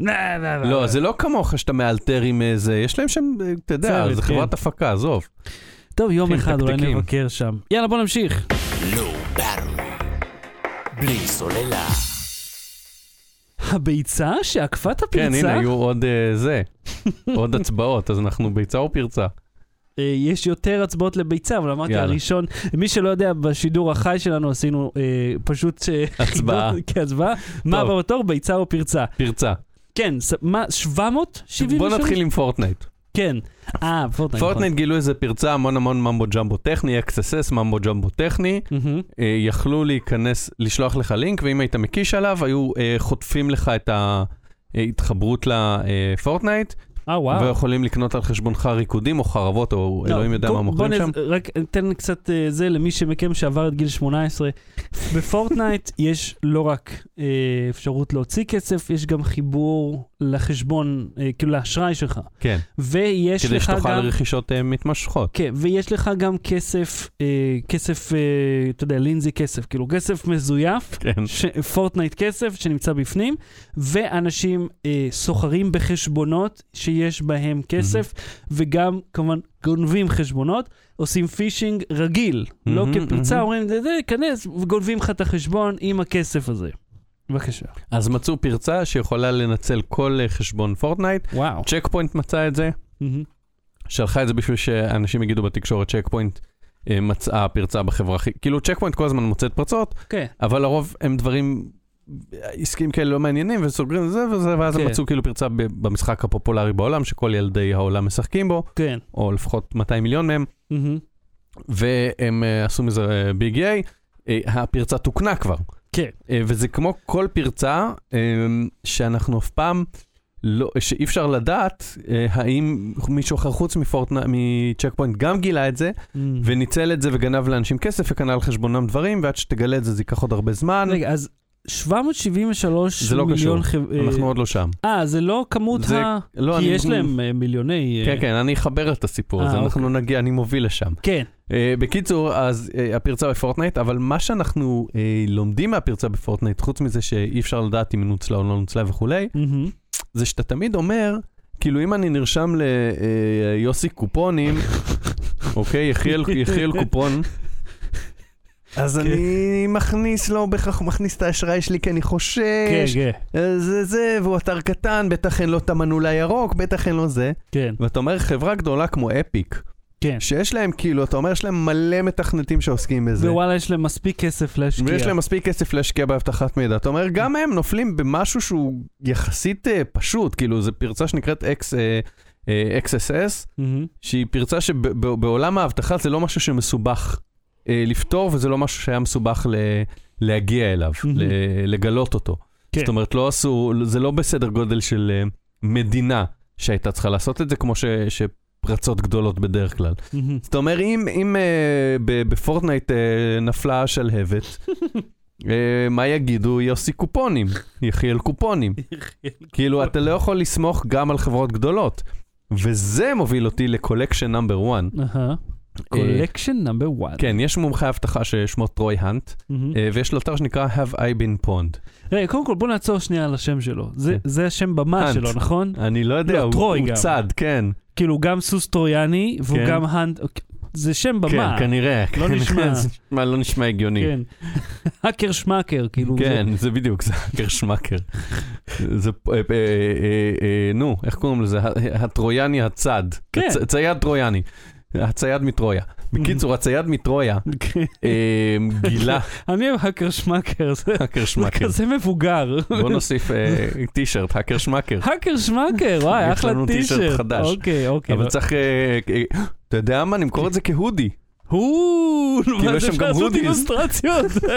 נה, נה, נה.
לא, זה לא כמוך שאתה מאלתר עם איזה, יש להם שם, אה, אתה יודע,
צוות,
זה
כן.
חברת הפקה, עזוב.
טוב, יום
כן,
אחד אולי
תקתקים.
נבקר שם. יאללה, בוא נמשיך.
לא ברור. בלי סוללה.
הביצה שעקפה את הפרצה,
כן, הנה, היו עוד אה, זה, עוד הצבעות, אז אנחנו ביצה או פרצה?
אה, יש יותר הצבעות לביצה, אבל אמרתי
יאללה.
הראשון, מי שלא יודע, בשידור החי שלנו עשינו אה, פשוט... אה,
הצבעה,
כהצבעה. מה
טוב.
הבא בתור? ביצה או פרצה.
פרצה.
כן, ס- מה, 773?
בוא נתחיל עם פורטנייט.
כן. אה, פורטנייט.
פורטנייט גילו איזה פרצה, המון המון ממבו ג'מבו טכני, אקססס, ממבו ג'מבו טכני.
נכון. מהמם.
אה, יכלו להיכנס, לשלוח לך לינק, ואם היית מקיש עליו, היו אה, חוטפים לך את אה, ההתחברות לפורטנייט,
אה, וואו.
ויכולים לקנות על חשבונך ריקודים או חרבות, או
לא,
אלוהים יודע
בוא-
מה
בוא
מוכרים
נ-
שם.
רק תן קצת אה, זה למי שמכם שעבר את גיל 18. בפורטנייט יש לא רק אה, אפשרות להוציא כסף, יש גם חיבור לחשבון, אה, כאילו לאשראי שלך.
כן,
ויש
כדי
לך
שתוכל
גם...
רכישות אה, מתמשכות.
כן, ויש לך גם כסף, אה, כסף, אה, אתה יודע, לינזי כסף, כאילו כסף מזויף,
כן.
ש... פורטנייט כסף שנמצא בפנים, ואנשים אה, סוחרים בחשבונות שיש בהם כסף, וגם כמובן גונבים חשבונות, עושים פישינג רגיל, לא
מהמם,
כפרצה,
מהמם.
אומרים, זה, זה, כנס, וגונבים לך את החשבון עם הכסף הזה. בבקשה.
אז מצאו פרצה שיכולה לנצל כל אה, חשבון פורטנייט.
וואו.
צ'ק פוינט מצא את זה, שלחה את זה בשביל שאנשים יגידו בתקשורת צ'ק פוינט. אה, מצאה פרצה בחברה, הכי- כאילו צ'ק פוינט כל הזמן מוצאת פרצות,
כן.
אבל לרוב הם דברים עסקיים כאלה לא מעניינים וסוגרים את זה וזה ואז
כן.
הם מצאו כאילו פרצה ב- במשחק הפופולרי בעולם שכל ילדי העולם משחקים בו
כן.
או לפחות 200 מיליון מהם
מהמם.
והם אה, עשו מזה אה, ביג איי אה, הפרצה תוקנה כבר
כן.
אה, וזה כמו כל פרצה אה, שאנחנו אף פעם לא, שאי אפשר לדעת אה, האם מישהו אחר חוץ מפורטנ- מצ'ק פוינט גם גילה את זה,
Mm-hmm.
וניצל את זה וגנב לאנשים כסף וקנה על חשבונם דברים, ועד שתגלה את זה זה ייקח עוד הרבה זמן.
רגע, אז 773
זה לא
מיליון...
קשור.
חב- אה,
אנחנו עוד לא שם.
אה, זה לא כמות
זה-
ה...
לא,
כי
אני-
יש להם אה, מיליוני... אה,
כן, כן, אני אחבר את הסיפור
אה,
הזה, אנחנו נגיע, אני מוביל לשם.
כן.
אה, בקיצור, אז אה, הפרצה בפורטנייט, אבל מה שאנחנו אה, לומדים מהפרצה בפורטנייט, חוץ מזה שאי אפשר לדעת אם היא נוצלה או לא נוצלה וכולי,
מהמם.
זה שאתה תמיד אומר, כאילו אם אני נרשם ליוסי קופונים, אוקיי, יחיאל, יחיאל קופון, אז
כן.
אני מכניס, לא בהכרח מכניס את האשראי שלי כי אני
כן,
חושש,
כן,
אה, זה זה, והוא אתר קטן, בטח אין לו את המנעול הירוק, בטח אין לו זה.
כן,
ואתה אומר, חברה גדולה כמו אפיק,
כן.
שיש להם כאילו, אתה אומר, יש להם מלא מתכנתים שעוסקים בזה.
ווואלה, יש להם מספיק כסף להשקיע.
ויש להם מספיק כסף להשקיע באבטחת מידע. אתה אומר, גם הם נופלים במשהו שהוא יחסית אה, פשוט, כאילו, זו פרצה שנקראת X, אה, אה, XSS,
מהמם.
שהיא פרצה שבעולם האבטחה זה לא משהו שמסובך אה, לפתור, וזה לא משהו שהיה מסובך ל, להגיע אליו,
מהמם.
ל- לגלות אותו.
כן.
זאת אומרת, לא עשו, זה לא בסדר גודל של אה, מדינה שהייתה צריכה לעשות את זה, כמו ש... שפרצות גדולות בדרך כלל.
מהמם.
זאת אומרת, אם, אם אה, ב- בפורטנייט אה, נפלה שלהבת, אה, מה יגידו? יוסי קופונים, יחיאל קופונים. כאילו, אתה לא יכול לסמוך גם על חברות גדולות. וזה מוביל אותי לקולקשן נאמבר 1.
אהה. קולקשן נאמבר 1.
כן, יש מומחה אבטחה ששמו טרוי האנט, אה, ויש לו אתר שנקרא Have I been pwned.
רגע, קודם כל בוא נעצור שנייה על השם שלו. זה-
כן.
זה השם במה
האנט.
שלו, נכון?
אני לא יודע,
לא,
הוא-
טרוי
הוא
גם.
צד, כן.
כאילו, גם סוס טרויאני, והוא
כן.
גם האנט... אוקיי. זה שם
כן,
במה.
כנראה.
לא
כנראה
נשמע.
זה נשמע- לא נשמע הגיוני.
כן. האקר שמאקר, כאילו. זה-
כן, זה בדיוק, זה האקר שמאקר. זה, אה, אה, אה, אה, נו, איך קוראים לזה? ה- הטרויאני הצד.
כן.
הצ- צייד טרויאני. הצייד מטרויה. בקיצור, הצייד מטרויה
כן.
אה, גילה
אני אוהב האקר שמאקר, זה
האקר
זה
שמאקר.
כזה מבוגר.
בוא נוסיף אה, טישרט, האקר שמאקר.
האקר שמאקר, וואי,
יש
אחלה
לנו טישרט
טישרט.
חדש.
אוקיי, אוקיי.
אבל צריך... אה, אה, אתה יודע מה? נמכור את זה כהודי.
הוא,
כאילו,
מה
יש
זה
שם
אפשר
גם
לעשות
הודיז.
אילוסטרציות?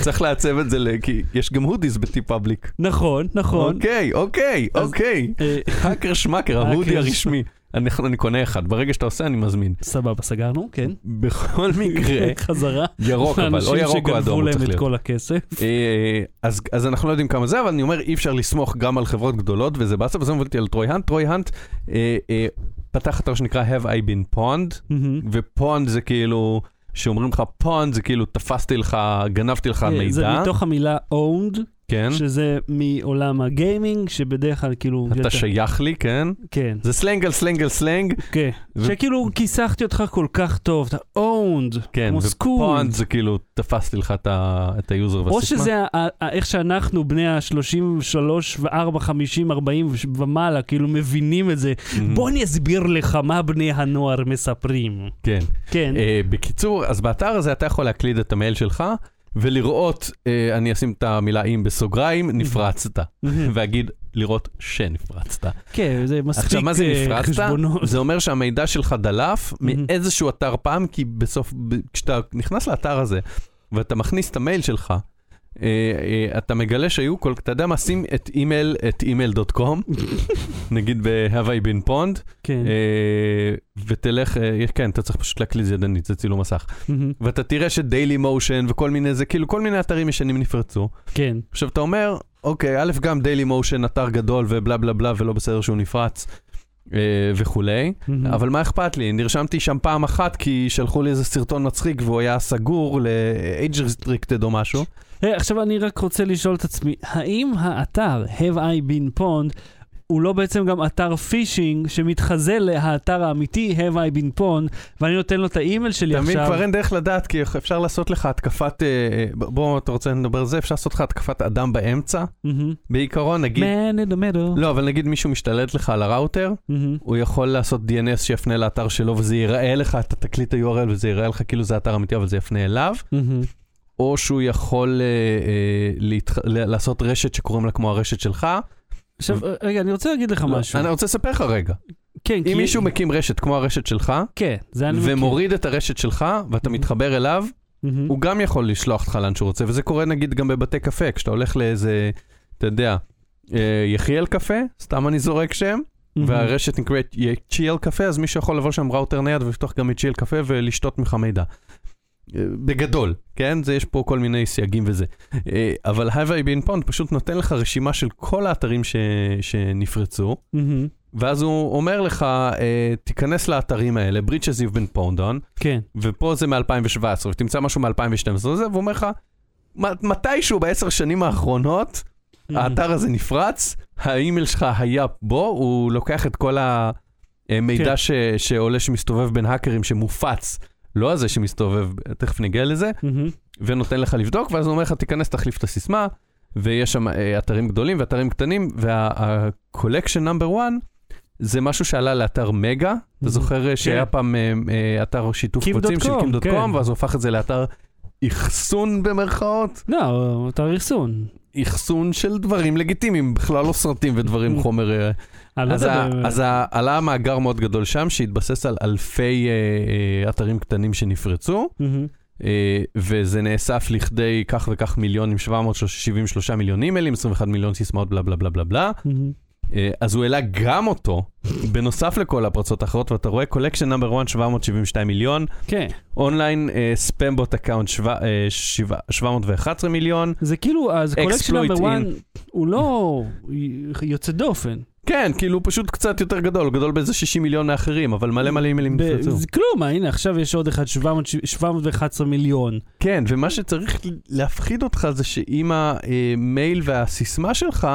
צריך לעצב את זה, ל- כי יש גם הודיז בטיפאבליק.
נכון, נכון.
אוקיי, אוקיי,
אז-
אוקיי.
אה,
האקר שמאקר,
האקר
ההודי
שמ-
הרשמי. אני אני קונה אחד, ברגע שאתה עושה אני מזמין.
סבבה, סגרנו, כן.
בכל מקרה,
חזרה.
ירוק אבל, או ירוק או אדום
לאנשים שגנבו
הוא צריך
להם את
להיות.
כל הכסף.
אה, אז, אז אנחנו לא יודעים כמה זה, אבל אני אומר, אי אפשר לסמוך גם על חברות גדולות, וזה באסה, וזה מוביל אותי על טרוי האנט. טרוי האנט אה, אה, פתח אתר שנקרא Have I been pwned,
מהמם.
ופונד זה כאילו, שאומרים לך פונד זה כאילו תפסתי לך, גנבתי לך
אה, זה
מידע,
מתוך המילה owned,
כן,
שזה מעולם הגיימינג, שבדרך כלל כאילו...
אתה שייך לי, כן,
כן,
זה סלנג על סלנג על סלנג,
כן.
ו-
שכאילו כיסחתי אותך כל כך טוב, אתה owned,
כן,
כמו
ופונד
סקול.
זה כאילו תפסתי לך את ה- את היוזר והסיסמה.
או שזה ה- ה- ה- איך שאנחנו, בני ה-33 ו-4, 50, 40 ומעלה, כאילו מבינים את זה.
Mhm.
בוא אני אסביר לך מה בני הנוער מספרים.
כן.
כן.
אה, בקיצור, אז באתר הזה אתה יכול להקליד את המייל שלך ולראות, אה, אני אשים את המילה אם בסוגריים, נפרצת. ואגיד לראות שנפרצת.
כן, זה מספיק
עכשיו, מה זה
אה,
נפרצת?
חשבונות. Mm-hmm.
זה אומר שהמידע שלך דלף
מהמם.
מאיזשהו אתר פעם, כי בסוף, ב- כשאתה נכנס לאתר הזה ואתה מכניס את המייל שלך, אה, אה, אתה מגלה שהיו כל, אתה יודע מה, שים את אימייל, את email.com, נגיד ב-Have I been pwned,
כן.
אה, ותלך, אה, כן, אתה צריך פשוט להקליד ידנית, זה צילום מסך.
מהמם.
ואתה תראה שדיילי מושן וכל מיני זה, כאילו כל מיני אתרים ישנים נפרצו.
כן.
עכשיו אתה אומר, אוקיי, א', גם דיילי מושן אתר גדול ובלה בלה בלה ולא בסדר שהוא נפרץ אה, וכולי,
מהמם.
אה, אבל מה אכפת לי? נרשמתי שם פעם אחת כי שלחו לי איזה סרטון מצחיק והוא היה סגור ל-age restricted או משהו.
היי, אה, עכשיו אני רק רוצה לשאול את עצמי, האם האתר Have I been pwned הוא לא בעצם גם אתר פישינג שמתחזה לאתר האמיתי Have I been pwned ואני נותן לו את האימייל שלי
אתה
עכשיו?
מבין, כבר אין דרך לדעת כי אפשר לעשות לך התקפת, אה, אה, ב- בוא, אתה רוצה לדבר על זה? אפשר לעשות לך התקפת אדם באמצע?
מבין?
בעיקרון, נגיד...
Man in the middle.
לא, אבל נגיד מישהו משתלט לך על הראוטר,
מהמם.
הוא יכול לעשות DNS שיפנה לאתר שלו וזה ייראה לך, אתה תקליט ה-URL וזה ייראה לך כאילו זה אתר אמיתי אבל זה יפנה אליו,
מהמם.
או שהוא יכול אה, אה, להתח... ל- לעשות רשת שקוראים לה כמו הרשת שלך.
עכשיו, רגע, אני רוצה להגיד לך משהו.
לא. אני רוצה לספר לך רגע,
כן, כי-
אם מישהו מקים רשת כמו הרשת שלך,
כן, זה אני מכיר.
ומוריד את הרשת שלך ואתה
Mhm.
מתחבר אליו,
מהמם.
הוא גם יכול לשלוח אותך לאן שהוא רוצה, וזה קורה נגיד גם בבתי קפה, כשאתה הולך לאיזה, אתה יודע, אה, יחיאל קפה, סתם אני זורק שם, והרשת נקראת צ'יאל קפה, אז מישהו יכול לבוא שם ראוטר נייד ולפתוח גם את צ'יאל קפה ולשתות ממך מידע. אה, בגדול, כן? זה יש פה כל מיני סייגים וזה. אה, אבל Have I been pwned פשוט נותן לך רשימה של כל האתרים ש... שנפרצו,
מהמם.
ואז הוא אומר לך, אה, תיכנס לאתרים האלה, breaches you've been pwned on,
כן.
ופה זה מ-2017, ותמצא משהו מ-2012, וזה, והוא אומר לך, "מ- מתישהו בעשר שנים האחרונות, האתר הזה נפרץ, האימייל שלך היה בו, הוא לוקח את כל המידע
כן.
ש, שעולה שמסתובב בין האקרים שמופץ, לא הזה שמסתובב, תכף נגיע לזה,
מהמם.
ונותן לך לבדוק, ואז הוא אומר לך, תיכנס, תחליף את הסיסמה, ויש שם אה, אתרים גדולים ואתרים קטנים, וה-collection number one זה משהו שעלה לאתר מגה, אתה זוכר אה, שהיה
כן.
פעם אה, אה, אתר שיתוף
Kim.com,
קבצים של קים.com,
כן.
ואז הוא הפך את זה לאתר אחסון במרכאות.
לא, אתר אחסון.
אחסון של דברים לגיטימיים, בכלל לא סרטים ודברים חומר. אה,
אני לא
אז
יודע
ה-
באמת.
אז ה- עלה מאגר מאוד גדול שם, שהתבסס על אלפי אה, אה, אתרים קטנים שנפרצו,
מהמם.
אה, וזה נאסף לכדי כך וכך מיליונים, 773 מיליון אימיילים, 21 מיליון סיסמאות, בלה בלה בלה בלה בלה.
מהמם.
אה, אז הוא העלה גם אותו, בנוסף לכל הפרצות האחרות, ואתה רואה קולקשן נאמבר 1, 772 מיליון, אה,
כן.
אונליין ספמבוט אקאונט אה, 711 מיליון.
זה כאילו, אז קולקשן
Exploit
נאמבר
in.
1 הוא לא יוצא דופן.
כן, כאילו הוא פשוט קצת יותר גדול, הוא גדול באיזה 60 מיליון מאחרים, אבל מלא מלא אימיילים
ב-
נפרצו.
זה כלום, אה, הנה עכשיו יש עוד אחד 700 711 מיליון.
כן, ומה שצריך להפחיד אותך זה שעם המייל והסיסמה שלך,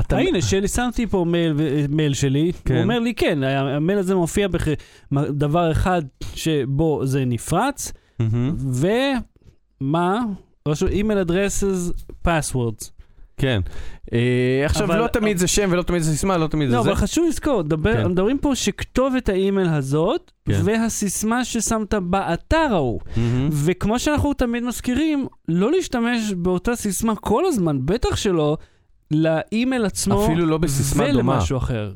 אתה...
אה, הנה, שלי, שמתי פה מייל, ו- מייל שלי,
כן.
הוא אומר לי, כן, ה- המייל הזה מופיע בדבר אחד שבו זה נפרץ,
מהמם.
ומה? לא רשום אימייל אדרסס פסוורדס.
כן. אה, עכשיו,
אבל-
לא תמיד זה שם ולא תמיד זה סיסמה, לא תמיד זה
לא,
זה.
אבל חשוב לזכור, דבר-
כן.
מדברים פה שכתובת האימייל הזאת,
כן.
והסיסמה ששמת באתר ההוא.
מהמם.
וכמו שאנחנו תמיד מזכירים, לא להשתמש באותה סיסמה כל הזמן, בטח שלא, לאימייל עצמו.
אפילו לא בסיסמה דומה.
ולמשהו אחר.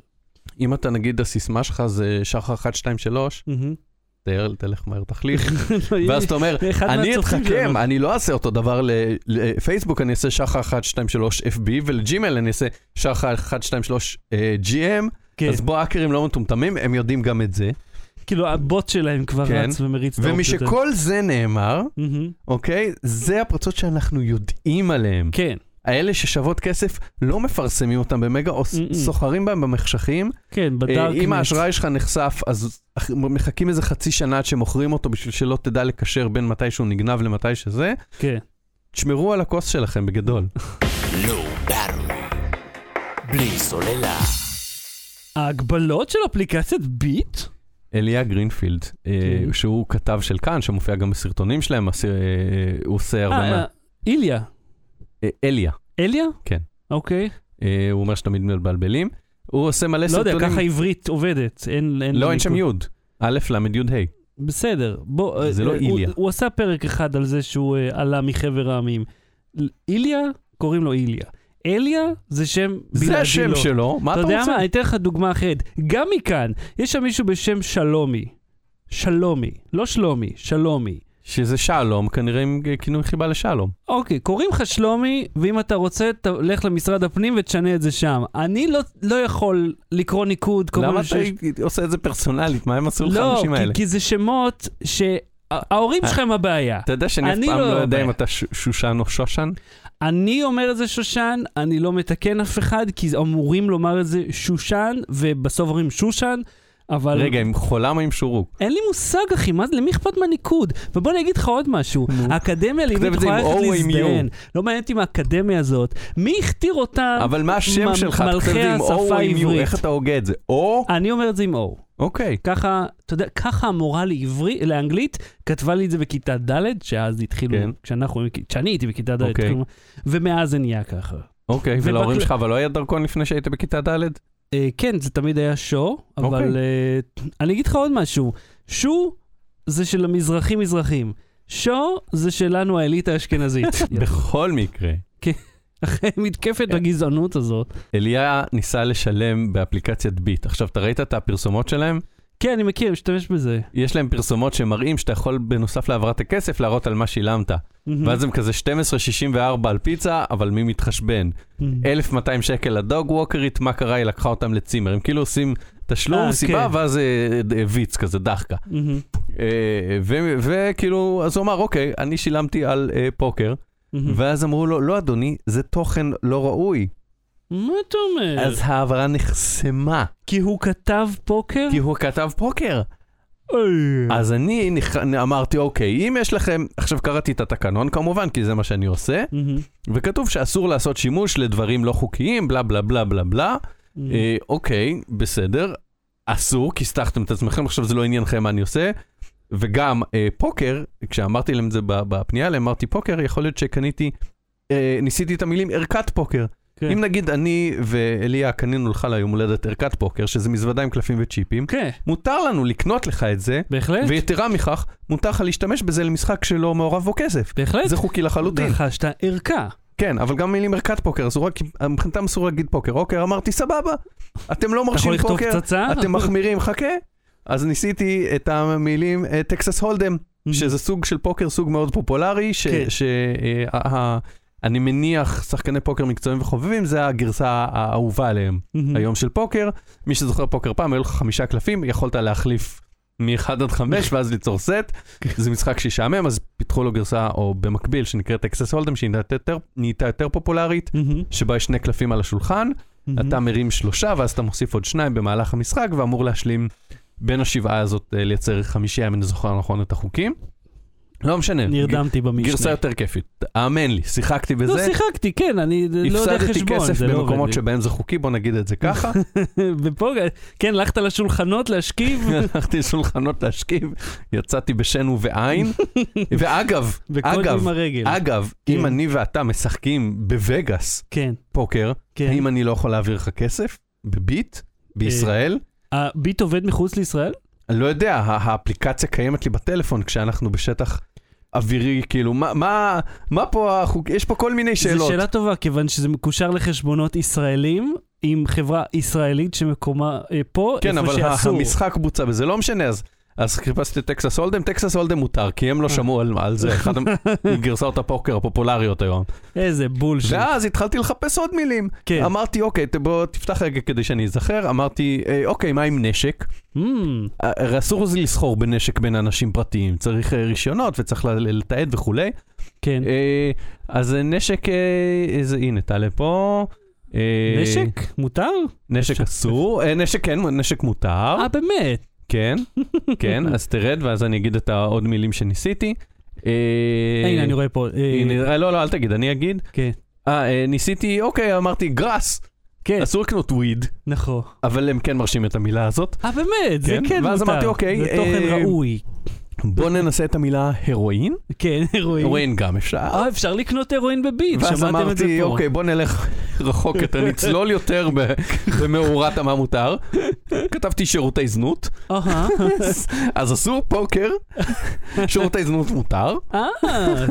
אם אתה נגיד הסיסמה שלך זה שחר 1, 2, 3, תאר, תלך מהר תחליך, ואז אתה אומר,
אחד
אני
מהצופים
אתחכם,
שלנו.
אני לא אעשה אותו דבר ל- לפייסבוק, אני אעשה שחר 1, 2, 3 FB, ולג'ימייל אני אעשה שחר 1, 2, 3 GM,
כן.
אה, אז בוא, האקרים לא מטומטמים, הם יודעים גם את זה.
כאילו הבוט שלהם כבר
כן.
רץ ומריץ את האופציות האלה.
ומשכל זה נאמר,
מהמם.
אוקיי, זה הפרצות שאנחנו יודעים עליהן.
כן,
האלה ששוות כסף, לא מפרסמים אותן במגה, או ס-
Mm-mm.
סוחרים בהן במחשכים.
כן,
אה,
בדארקנט.
אם האשראי שלך נחשף, אז אח- מחכים איזה חצי שנה עד שמוכרים אותו, בשביל שלא תדע לקשר בין מתי שהוא נגנב למתי שזה.
כן.
תשמרו על הכוס שלכם בגדול.
לא ברור. בלי סוללה.
ההגבלות של אפליקציית ביט?
אליה גרינפילד, אה,
כן.
שהוא כתב של כאן, שמופיע גם בסרטונים שלהם, אז, אה, הוא עושה הרבה
אה,
מה...
אה, איליה.
אה, אליה,
אליה?
כן.
אוקיי.
אה, הוא אומר שתמיד מבלבלים. הוא עושה מלא
לא
סרטונים.
יודע, ככה עברית עובדת. אין...
לא, אין שם
ניקוד.
יוד. א', ל', י', ה'.
בסדר, בוא...
זה
אה,
לא
הוא-
איליה.
הוא עשה פרק אחד על זה שהוא אה, עלה מחבר העמים. ל- איליה, קוראים לו איליה. אליה זה שם בלעדי
זה השם
לו.
שלו, מה אתה
אתה יודע
רוצה?
מה, אני אתן לך דוגמה אחרת. גם מכאן, יש שם מישהו בשם שלומי. שלומי. לא שלומי, שלומי.
שזה שלום, כנראה עם אה, כינוי חיבה לשלום.
אוקיי, קוראים לך שלומי, ואם אתה רוצה, תלך למשרד הפנים ותשנה את זה שם. אני לא, לא יכול לקרוא ניקוד. כל
למה
פעם
אתה עושה את זה פרסונלית? מה הם עשו לך
לא,
האנשים האלה?
כי, כי זה שמות שההורים
אה.
שלך הם הבעיה.
אתה יודע שאני אף
אני
פעם
לא
לא יודע
יודע.
אם אתה ש- שושן או שושן?
אני אומר את זה שושן, אני לא מתקן אף אחד, כי אמורים לומר את זה שושן, ובסוף אומרים שושן, אבל...
רגע, עם חולם או עם שורוק?
אין לי מושג, אחי, מה, זה- למי אכפת מהניקוד? ובוא אני אגיד לך עוד משהו,
נו.
האקדמיה
תכתב
הלאומית
את זה עם
יכולה
O
ללכת
או עם
להזדהן. לא מעניין אותי מהאקדמיה הזאת. מי הכתיר אותה?
אבל מה השם
מ-
שלך? אתה
מלכי
כותב את זה עם O או
השפה
עם U?
העברית.
איך אתה הוגה את זה? או?
אני אומר את זה עם O.
אוקיי.
ככה, אתה יודע, ככה המורה לעברי, לאנגלית כתבה לי את זה בכיתה ד', שאז התחילו,
כן.
כשאנחנו, כשאני הייתי בכיתה ד',
אוקיי.
התחילו- ומאז זה נהיה ככה.
אוקיי, ולהורים
ובכל-
שלך, אבל לא היה דרכון לפני שהיית בכיתה ד'?
אה, כן, זה תמיד היה שו, אבל
אוקיי.
אה, אני אגיד לך עוד משהו. שו זה של המזרחים מזרחים. שו זה שלנו האליטה האשכנזית.
בכל מקרה,
אחרי מתקפת
כן.
הגזענות הזאת.
אליה ניסה לשלם באפליקציית ביט. עכשיו, אתה ראית את הפרסומות שלהם?
כן, אני מכיר, משתמש בזה.
יש להם פרסומות שמראים שאתה יכול בנוסף להעברת הכסף להראות על מה שילמת.
מהמם.
ואז הם כזה 12.64 על פיצה, אבל מי מתחשבן?
מהמם.
1200 שקל לדוג ווקרית, מה קרה? היא לקחה אותם לצימר. הם כאילו עושים תשלום,
אה,
סיבה,
כן.
ואז אה, אה, ויץ כזה, דחקה.
מהמם.
אה, ו- וכאילו, אז הוא אמר, אוקיי, אני שילמתי על אה, פוקר,
מהמם.
ואז אמרו לו, לא אדוני, זה תוכן לא ראוי.
מה אתה אומר?
אז ההעברה נחסמה,
כי הוא כתב פוקר?
כי הוא כתב פוקר.
אוי.
אז אני נכ- אמרתי, אוקיי, אם יש לכם, עכשיו קראתי את התקנון כמובן, כי זה מה שאני עושה,
מהמם.
וכתוב שאסור לעשות שימוש לדברים לא חוקיים, בלה בלה בלה בלה בלה,
מהמם.
אה, אוקיי, בסדר, אסור, כי הסתכתם את עצמכם, עכשיו זה לא עניינכם מה אני עושה. וגם אה, פוקר, כשאמרתי להם את זה ב- בפנייה, להם, אמרתי פוקר, יכול להיות שקניתי, אה, ניסיתי את המילים ערכת פוקר.
כן.
אם נגיד אני ואליה קנינו לך ליום הולדת ערכת פוקר, שזה מזוודה עם קלפים וצ'יפים,
כן,
מותר לנו לקנות לך את זה,
בהחלט.
ויתרה מכך, מותר לך להשתמש בזה למשחק שלא מעורב בו כסף.
בהחלט.
זה חוקי לחלוטין.
רכשת ערכה.
כן, אבל גם מילים ערכת פוקר, אסור רק, מבחינתם אסור להגיד פוקר. אוקיי, אמרתי סבבה, אתם לא
אתה יכול
מרשים
לכתוב אה, נכון.
פוקר,
פצצה?
אתם מחמירים, חכה. אז ניסיתי את המילים אה, טקסס הולדם,
Mhm.
שזה סוג של פוקר, סוג מאוד פופולרי, ש...
כן.
ש אה, ה- ה- אני מניח שחקני פוקר מקצועיים וחובבים, זה הגרסה האהובה עליהם
מהמם.
היום של פוקר. מי שזוכר פוקר פעם, היו לך חמישה קלפים, יכולת להחליף מ-1 עד 5 ואז ליצור סט. זה משחק שישעמם, אז פיתחו לו גרסה, או במקביל, שנקראת טקסס הולדם, שהיא נהייתה יותר- נהייתה יותר פופולרית,
מהמם.
שבה יש שני קלפים על השולחן,
מהמם.
אתה מרים שלושה ואז אתה מוסיף עוד שניים במהלך המשחק ואמור להשלים בין השבעה הזאת אה, לייצר חמישייה אם אני זוכר נכון את החוקים. לא משנה,
נרדמתי
ג-
במשנה.
גרסה יותר כיפית, האמן לי, שיחקתי
לא,
בזה,
שיחקתי, כן, אני לא יודע
הפסדתי
חשבון.
כסף
זה לא עובד
במקומות
לי.
שבהם זה חוקי, בוא נגיד את זה ככה,
ופה, כן, הלכת לשולחנות להשכיב,
הלכתי לשולחנות להשכיב, יצאתי בשן ובעין, ואגב,
וקוד
אגב,
עם הרגל.
אגב,
כן.
אם אני ואתה משחקים בווגאס
כן,
פוקר,
כן. אה,
האם אני לא יכול להעביר לך כסף? בביט? בישראל?
הביט אה, עובד מחוץ לישראל?
אני לא יודע, ה- האפליקציה קיימת לי בטלפון כשאנחנו בשטח אווירי, כאילו, מה, מה, מה פה החוק... יש פה כל מיני
זו
שאלות.
שאלה טובה, כיוון שזה מקושר לחשבונות ישראלים, עם חברה ישראלית שמקומה אה, פה,
כן,
איפה
אבל ה-
שאסור.
המשחק בוצע בזה, לא משנה, אז, אז חיפשתי את טקסס הולדם, טקסס הולדם מותר, כי הם לא
אה.
שמעו על, על זה, אחת מגרסאות הפוקר הפופולריות היום.
איזה בול של...
ואז התחלתי לחפש עוד מילים.
כן.
אמרתי, אוקיי, ת- בוא תפתח רגע כדי שאני אזכר, אמרתי, "אה, אוקיי, מה עם נשק?
אמ,
הרי אסור זה לסחור בנשק בין אנשים פרטיים, צריך אה, רישיונות וצריך ל- לתעד וכולי.
כן.
אה, אז נשק, אה, איזה, הנה, תעלה פה. אה,
נשק? מותר?
נשק אסור, אה, נשק כן, נשק מותר,
אה, באמת.
כן, כן, אז תרד ואז אני אגיד את העוד מילים שניסיתי. אה,
אה, הנה, אני רואה פה. אה,
הנה, אה, לא, לא, אל תגיד, אני אגיד.
כן.
אה, אה, ניסיתי, אוקיי, אמרתי גראס,
כן,
אסור לקנות וויד,
נכון.
אבל הם כן מרשים את המילה הזאת.
אה, באמת, זה
כן,
כן מותר.
ואז אמרתי, אוקיי,
זה תוכן
אה,
ראוי.
בואו ננסה את המילה הרואין,
כן, הרואין.
הרואין גם אפשר.
אה, אפשר לקנות הרואין בביט,
ואז
שמעתם את זה
אמרתי,
פה.
אוקיי, בוא נלך רחוק יותר, נצלול יותר ב- במאורת מה מותר. כתבתי שירותי זנות,
אהה.
אז אסור פוקר, שירותי זנות מותר,
אה,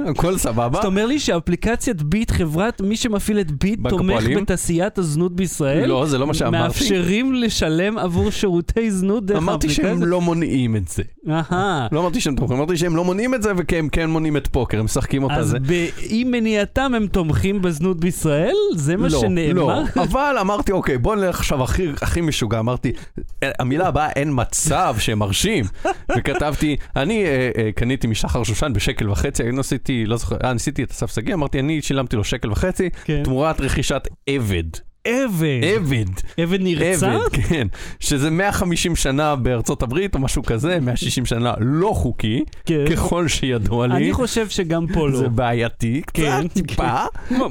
הכל סבבה.
אתה אומר לי שאפליקציית ביט, חברת, מי שמפעיל את ביט,
בנק
תומך
הפועלים?
בתעשיית הזנות בישראל?
לא, זה לא מה שאמרתי.
מאפשרים לשלם עבור שירותי זנות דרך
אמרתי
האפליקציה?
שהם לא מונעים את זה.
אהה.
לא אמרתי שהם תומכים, אמרתי שהם לא מונעים את זה, וכי הם כן מונעים את פוקר, הם משחקים אותה
אז
זה.
באי מניעתם הם תומכים בזנות בישראל? זה מה
לא, לא,
שנאמר?
אבל אמרתי, אוקיי, בוא נלך עכשיו הכי, הכי משוגע, אמרתי, "אה, המילה הבאה אין מצב שהם מרשים, וכתבתי, אני אה, אה, קניתי משחר שושן בשקל וחצי, אני עשיתי, לא זוכר, אה, ניסיתי את אסף שגיא, אמרתי, אני שילמתי לו שקל וחצי,
כן.
תמורת רכישת עבד,
עבד.
עבד,
עבד נרצע?
עבד, כן, שזה 150 שנה בארצות הברית או משהו כזה, 160 שנה לא חוקי,
כן.
ככל שידוע לי.
אני חושב שגם פה לא.
זה בעייתי,
כן,
קצת טיפה,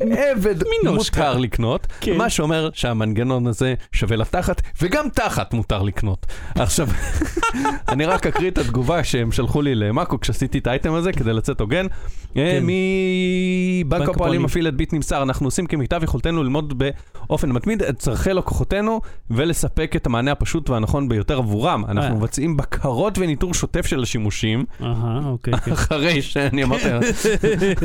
עבד
מינושקה.
מותר לקנות,
כן.
מה שאומר שהמנגנון הזה שווה לתחת, וגם תחת מותר לקנות. עכשיו, אני רק אקריא את התגובה שהם שלחו לי למאקו כשעשיתי את האייטם הזה כדי לצאת הוגן. אה,
כן.
מבנק
הפועלים.
הפועלים מפעיל את ביט נמסר, אנחנו עושים כמיטב יכולתנו ללמוד באופן מתמיד את צורכי לקוחותינו ולספק את המענה הפשוט והנכון ביותר עבורם.
אה.
אנחנו מבצעים בקרות וניטור שוטף של השימושים,
אהה, אוקיי, כן.
אחרי שאני אמרתי,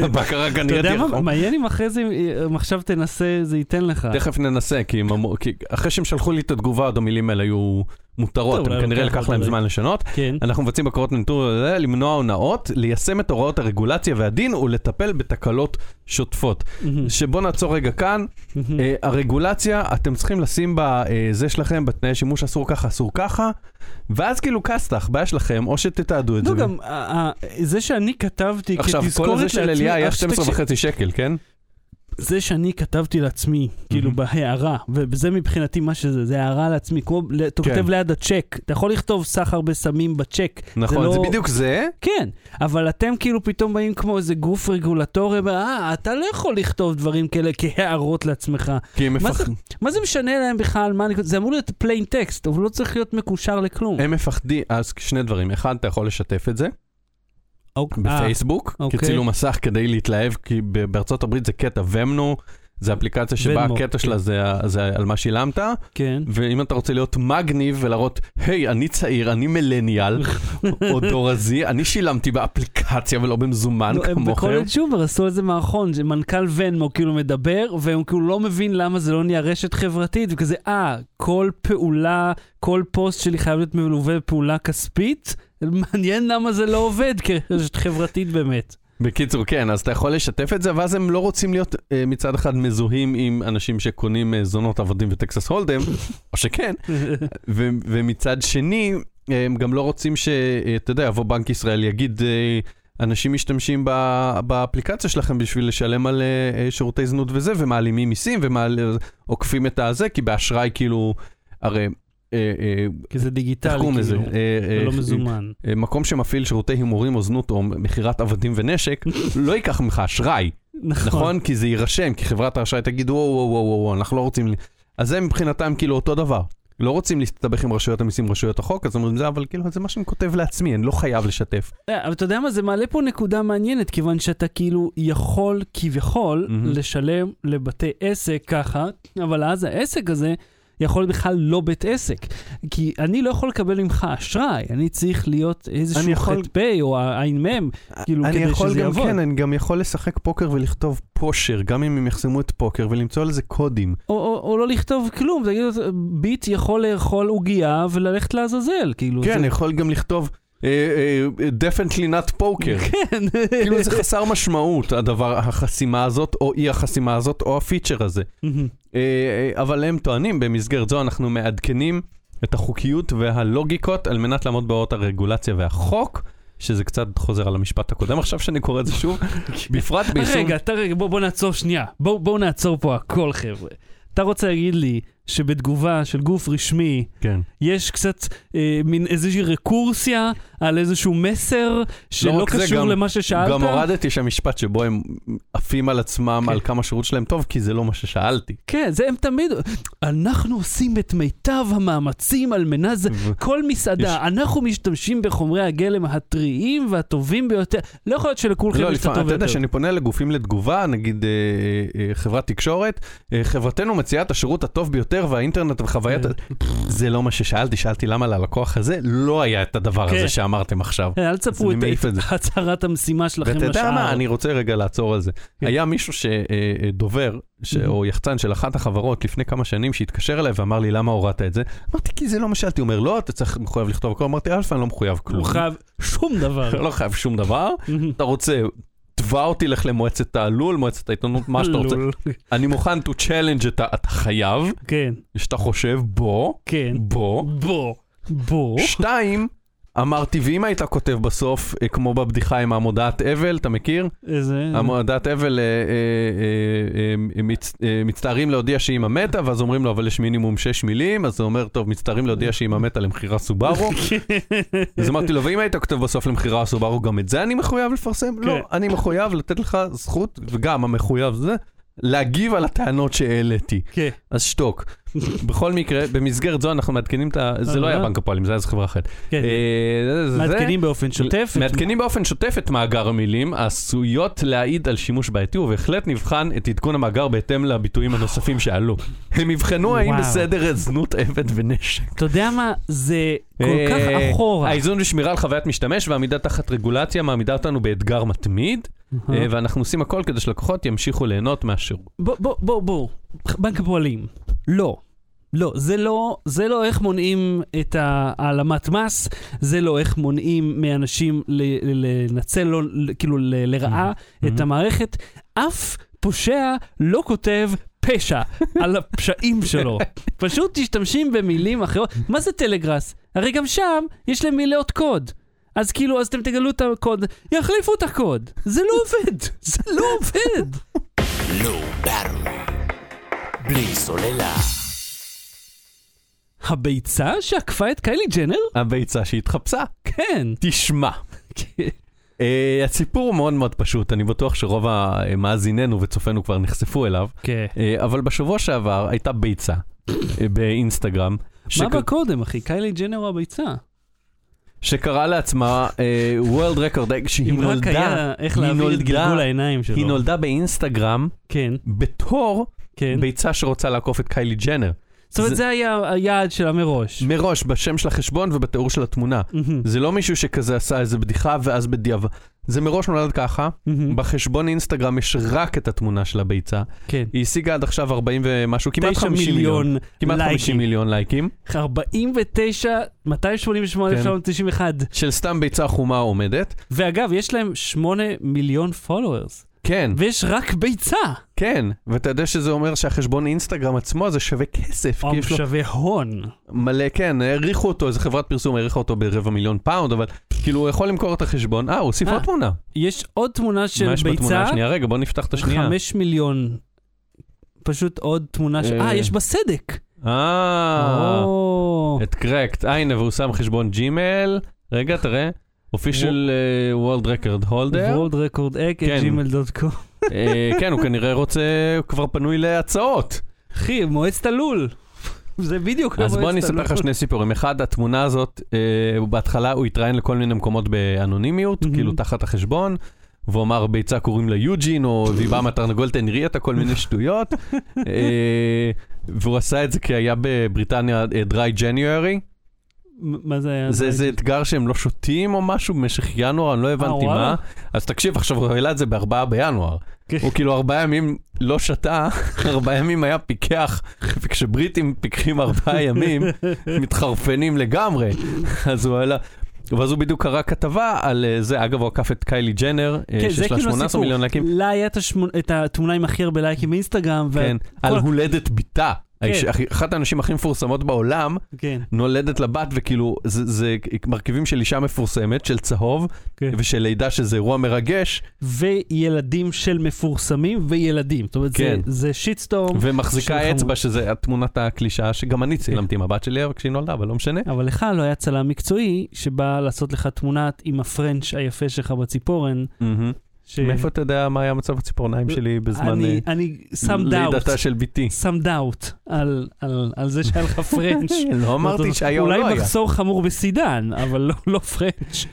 הבקרה
אתה
כנראה
יודע
תהיה
מה,
חום.
מעניין אם אחרי זה, אם עכשיו תנסה, זה ייתן לך.
תכף ננסה, כי, הם אמרו, כי אחרי שהם שלחו לי את התגובה, עוד המילים האלה היו מותרות,
טוב,
הם
אולי
כנראה
לוקח
לקח
עוד
להם
רגע.
זמן לשנות.
כן.
אנחנו מבצעים בקרות ניטור, אה, למנוע הונאות, ליישם את הוראות הרגולציה והדין ולטפל בתקלות שוטפות.
מהמם.
שבוא נעצור רגע כאן,
מהמם.
אה, הרגולציה, אתם צריכים לשים בזה שלכם, בתנאי שימוש אסור ככה, אסור ככה, ואז כאילו כסת"ח, בעיה שלכם, או שתתעדו את זה.
לא, גם ה- ה- זה שאני כתבתי
עכשיו, כל
כתזכורת
הזה
לעצמי...
של אליה היה
עכשיו,
12
תקשיב,
וחצי שקל, כן?
זה שאני כתבתי לעצמי, כאילו בהערה, וזה מבחינתי מה שזה, זה הערה לעצמי, כמו, ל- אתה
כן.
כותב ליד הצ'ק, אתה יכול לכתוב סחר בסמים בצ'ק.
נכון,
לא-
זה בדיוק זה.
כן, אבל אתם כאילו פתאום באים כמו איזה גוף רגולטורי, אה, אתה לא יכול לכתוב דברים כאלה כהערות לעצמך.
כי הם
מה זה-
מפחדים.
מה זה משנה להם בכלל? מה אני... זה אמור להיות פליין טקסט, אבל לא צריך להיות מקושר לכלום.
הם מפחדים, אז שני דברים. אחד, אתה יכול לשתף את זה
אוקיי.
בפייסבוק,
אה, אוקיי.
כצילום מסך כדי להתלהב, כי ב- בארצות הברית זה קטע ומנו, זה אפליקציה שבה
ונמו,
הקטע שלה
כן.
זה ה- זה על מה שילמת,
אה, כן.
ואם אתה רוצה להיות מגניב ולהראות, היי, אני צעיר, אני מילניאל, או דורזי, אני שילמתי באפליקציה ולא במזומן
לא, הם
כמוכם.
בקולג' שובר עשו איזה מערכון, שמנכ"ל ונמו כאילו מדבר, והוא כאילו לא מבין למה זה לא נהיה רשת חברתית, וכזה, אה, כל פעולה, כל פוסט שלי חייב להיות מלווה בפעולה כספית? מעניין למה זה לא עובד כרשת חברתית באמת.
בקיצור, כן, אז אתה יכול לשתף את זה, ואז הם לא רוצים להיות אה, מצד אחד מזוהים עם אנשים שקונים אה, זונות עבדים וטקסס הולדם, או שכן, ו- ומצד שני, הם גם לא רוצים ש... אה, אתה יודע, יבוא בנק ישראל, יגיד, אה, אנשים משתמשים ב- באפליקציה שלכם בשביל לשלם על אה, אה, שירותי זנות וזה, ומעלימים מיסים, ועוקפים את הזה, כי באשראי כאילו, הרי... אה, אה,
כי זה
איך
דיגיטלי,
קוראים לזה?
כאילו,
אה, אה,
ולא מזומן.
אה, מקום שמפעיל שירותי הימורים או זנות או מכירת עבדים ונשק, לא ייקח ממך אשראי. נכון? כי זה יירשם, כי חברת האשראי תגיד וואו וואו וואו וואו, אנחנו לא רוצים... ל-" אז זה מבחינתם כאילו אותו דבר. לא רוצים להסתבך עם רשויות המיסים, רשויות החוק, אז אומרים זה, אבל כאילו זה מה שאני כותב לעצמי, אני לא חייב לשתף.
אה, אבל אתה יודע מה, זה מעלה פה נקודה מעניינת, כיוון שאתה כאילו יכול כביכול
מהמם.
לשלם לבתי עסק ככה, אבל אז העסק הזה יכול להיות בכלל לא בית עסק. כי אני לא יכול לקבל ממך אשראי, אני צריך להיות
אני
איזשהו
יכול-
חטא פ' או ע"מ, כאילו,
אני
כדי
יכול
שזה
גם,
יעבוד.
כן, אני גם יכול לשחק פוקר ולכתוב פושר, גם אם הם יחסמו את פוקר, ולמצוא על זה קודים.
או, או, או לא לכתוב כלום, תגיד, ביט יכול לאכול עוגייה וללכת לעזאזל, כאילו.
כן, אני
זה...
יכול גם לכתוב אה, אה, דפן קלינת פוקר.
כן.
כאילו זה חסר משמעות, הדבר, החסימה הזאת, או אי החסימה הזאת, או הפיצ'ר הזה. אה, אה, אבל הם טוענים, במסגרת זו אנחנו מעדכנים את החוקיות והלוגיקות על מנת לעמוד בהוראות הרגולציה והחוק, שזה קצת חוזר על המשפט הקודם עכשיו שאני קורא את זה שוב, בפרט ביישום...
רגע, אתה רגע, בוא, בוא נעצור שנייה. בואו בוא נעצור פה הכל, חבר'ה. אתה רוצה להגיד לי שבתגובה של גוף רשמי
כן.
יש קצת אה, מין איזושהי רקורסיה על איזשהו מסר שלא
לא רק זה,
קשור
גם-
למה ששאלת?
גם הורדתי שם משפט שבו הם עפים על עצמם,
כן.
על כמה שירות שלהם טוב, כי זה לא מה ששאלתי.
כן, זה הם תמיד... אנחנו עושים את מיטב המאמצים על מנת זה...
ו-
כל מסעדה, יש... אנחנו משתמשים בחומרי הגלם הטריים והטובים ביותר. לא יכול להיות שלכולכם
לא,
יש את
לפעמים,
הטוב
אתה יודע,
ביותר.
כשאני פונה לגופים לתגובה, נגיד אה, אה, אה, חברת תקשורת, אה, חברתנו מציעה את השירות הטוב ביותר והאינטרנט וחוויית...
כן.
זה לא מה ששאלתי, שאלתי למה ללקוח הזה לא היה את הדבר
כן.
הזה שאמרתם עכשיו.
אה, אל
אז
תספרו
אני
את
מעיף את זה.
הצהרת המשימה שלכם לשער.
ואתה יודע מה, אני רוצה רגע לעצור על זה.
כן.
היה מישהו אה, שדובר, או יחצן של אחת החברות לפני כמה שנים, שהתקשר אליי ואמר לי, למה הורדת את זה? אמרתי, כי זה לא מה שאלתי. הוא אומר, לא, אתה צריך מחויב לכתוב הכל. אמרתי, אלף, אני לא מחויב כלום.
לא חייב שום דבר.
לא חייב שום דבר. אתה רוצה, תבע אותי, לך למועצת הלול, מועצת העיתונות, מה שאתה רוצה.
לול.
אני מוכן to challenge את ה... אתה חייב,
כן,
שאתה חושב, בוא,
כן.
בוא.
בוא. בוא.
שתיים, אמרתי, ואם היית כותב בסוף, אה, כמו בבדיחה עם המודעת אבל, אתה מכיר?
Mm. איזה...
המודעת אבל, אה, אה, אה, אה, מצ- אה, מצטערים להודיע שאימא מתה, ואז אומרים לו, אבל יש מינימום שש מילים, אז הוא אומר, טוב, מצטערים להודיע שאימא מתה למכירה סובארו. אז אמרתי לו, ואם היית כותב בסוף למכירה סובארו, גם את זה אני מחויב לפרסם? לא,
כן.
אני מחויב לתת לך זכות, וגם המחויב זה, להגיב על הטענות שהעליתי.
כן.
אז שתוק. בכל מקרה, במסגרת זו אנחנו מעדכנים את ה... זה לא היה בנק הפועלים, זה היה איזה חברה אחרת.
כן.
אה, זה- זה-
מעדכנים באופן שוטף. את-
מעדכנים באופן שוטף את מאגר המילים העשויות להעיד על שימוש בעייתי, ובהחלט נבחן את עדכון המאגר בהתאם לביטויים הנוספים שעלו. הם יבחנו האם
וואו.
בסדר זנות עבד ונשק.
אתה יודע מה? זה כל כך
אה,
אחורה.
האיזון ושמירה על חוויית משתמש ועמידה תחת רגולציה מעמידה אותנו באתגר מתמיד,
אה,
אה, ואנחנו עושים הכל כדי שלקוחות ימשיכו ליהנות מהשירות.
בוא, בוא, בוא, בוא. בנק הפועלים. לא. לא, זה לא, זה לא איך מונעים את העלמת מס, זה לא איך מונעים מאנשים ל, ל, לנצל, לא, ל- כאילו ל, לרעה את
Mhm.
המערכת. אף פושע לא כותב פשע על הפשעים שלו. פשוט משתמשים במילים אחרות. מה זה טלגראס? הרי גם שם יש להם מילות קוד. אז כאילו, אז אתם תגלו את הקוד, יחליפו את הקוד. זה לא עובד, זה לא עובד.
לא ברור. בלי סוללה.
הביצה שעקפה את קיילי ג'נר?
הביצה שהתחפשה.
כן.
תשמע. אה, הסיפור הוא מאוד מאוד פשוט, אני בטוח שרוב המאזיננו וצופינו כבר נחשפו אליו,
כן.
אה, אבל בשבוע שעבר הייתה ביצה אה, באינסטגרם,
מה
שכ-
בא קודם, אחי? קיילי ג'נר או הביצה?
שקראה לעצמה אה, World Record, אה, שהיא
אם רק
נולדה,
היה איך
היא
להעביר את
נולדה-
גלגול העיניים שלו.
היא נולדה באינסטגרם
כן,
בתור
כן.
ביצה שרוצה לעקוף את קיילי ג'נר,
זאת אומרת,
זה-
זה היה היעד שלה מראש.
מראש בשם של החשבון ובתיאור של התמונה.
מהמם,
זה לא מישהו שכזה עשה איזה בדיחה ואז בדיעבד, זה מראש נולד ככה,
מהמם.
בחשבון אינסטגרם יש רק את התמונה של הביצה.
כן.
היא השיגה עד עכשיו 40 ומשהו, כמעט
9
50 מיליון.
מיליון
כמעט 50
לייקים.
מיליון לייקים.
49,
כן.
288, 991.
של סתם ביצה חומה עומדת.
ואגב, יש להם 8 מיליון פולוורס.
כן,
ויש רק ביצה.
כן. ואתה יודע שזה אומר שהחשבון אינסטגרם עצמו זה שווה כסף. כי
או
יש לו
שווה הון.
מלא, כן, העריכו אותו, איזה חברת פרסום העריכה אותו ברבע מיליון פאונד, אבל כאילו הוא יכול למכור את החשבון. אה, הוא הוסיף
אה,
עוד תמונה.
יש עוד תמונה של
מה יש בתמונה
ביצה,
השנייה? רגע, בוא נפתח את השנייה.
5 מיליון. פשוט עוד תמונה של...
אה.
אה, יש בה סדק.
אה,
או.
את קרקט. אה, הנה, והוא שם חשבון ג'ימל. רגע, תראה. אה, אופישל וולד רקרד הולדר.
World Record Egg
כן.
at gmail.com.
כן, הוא כנראה רוצה, הוא כבר פנוי להצעות.
אחי, מועצת הלול. זה בדיוק לא
אז בוא
מועצת
אני אספר
הלול.
לך שני סיפורים. אחד, התמונה הזאת, אה, הוא בהתחלה הוא התראיין לכל מיני מקומות באנונימיות,
מהמם.
כאילו תחת החשבון, והוא אמר, ביצה קוראים לה יוג'ין, או והיא באה מהתרנגולת הנריאטה, כל מיני שטויות. אה, והוא עשה את זה כי היה בבריטניה אה, דרי ג'ניוארי.
מ- מה זה היה?
זה איזה אתגר שהם לא שותים או משהו במשך ינואר, אני לא הבנתי
וואלה.
מה. אז תקשיב, עכשיו הוא העלה את זה בארבעה בינואר.
כן.
הוא כאילו ארבעה ימים לא שתה, ארבעה ימים היה פיקח, וכשבריטים פיקחים ארבעה ימים, מתחרפנים לגמרי. אז הוא העלה... ואז הוא בדיוק קרא כתבה על אה, זה, אגב הוא עקף את קיילי ג'נר, אה,
כן, זה
שיש לה
כאילו
18
הסיפור.
מיליון לייקים,
לה היה את השמונ- את התמונה עם הכי הרבה לייקים באינסטגרם. וה-
כן, על
כל-
הולדת בתה.
כן.
האיש- הכי- אחת הנשים הכי מפורסמות בעולם,
כן.
נולדת לבת, וכאילו, זה, זה מרכיבים של אישה מפורסמת, של צהוב,
כן.
ושל לידה שזה אירוע מרגש,
וילדים של מפורסמים וילדים. זאת אומרת, זה-
כן.
זה שיטסטורם, שם
ומחזיקה
חמוד.
אצבע, שזה תמונת הקלישאה שגם
כן.
אני צילמתי עם הבת שלי, אבל כשהיא נולדה, אבל לא משנה.
אבל לך לא היה צלם מקצועי שבא לעשות לך תמונת עם הפרנץ' היפה שלך בציפורן. ש-
מאיפה אתה יודע מה היה מצב הציפורניים שלי בזמן
Mm-hmm. אני-
אה,
אני שם דאוט.
לידתה של בתי?
שם דאוט על, על, על זה שהיה לך פרנץ'.
לא אמרתי שהיה או לא
אולי
היה.
מחסור חמור בסידן, אבל לא, לא פרנץ'.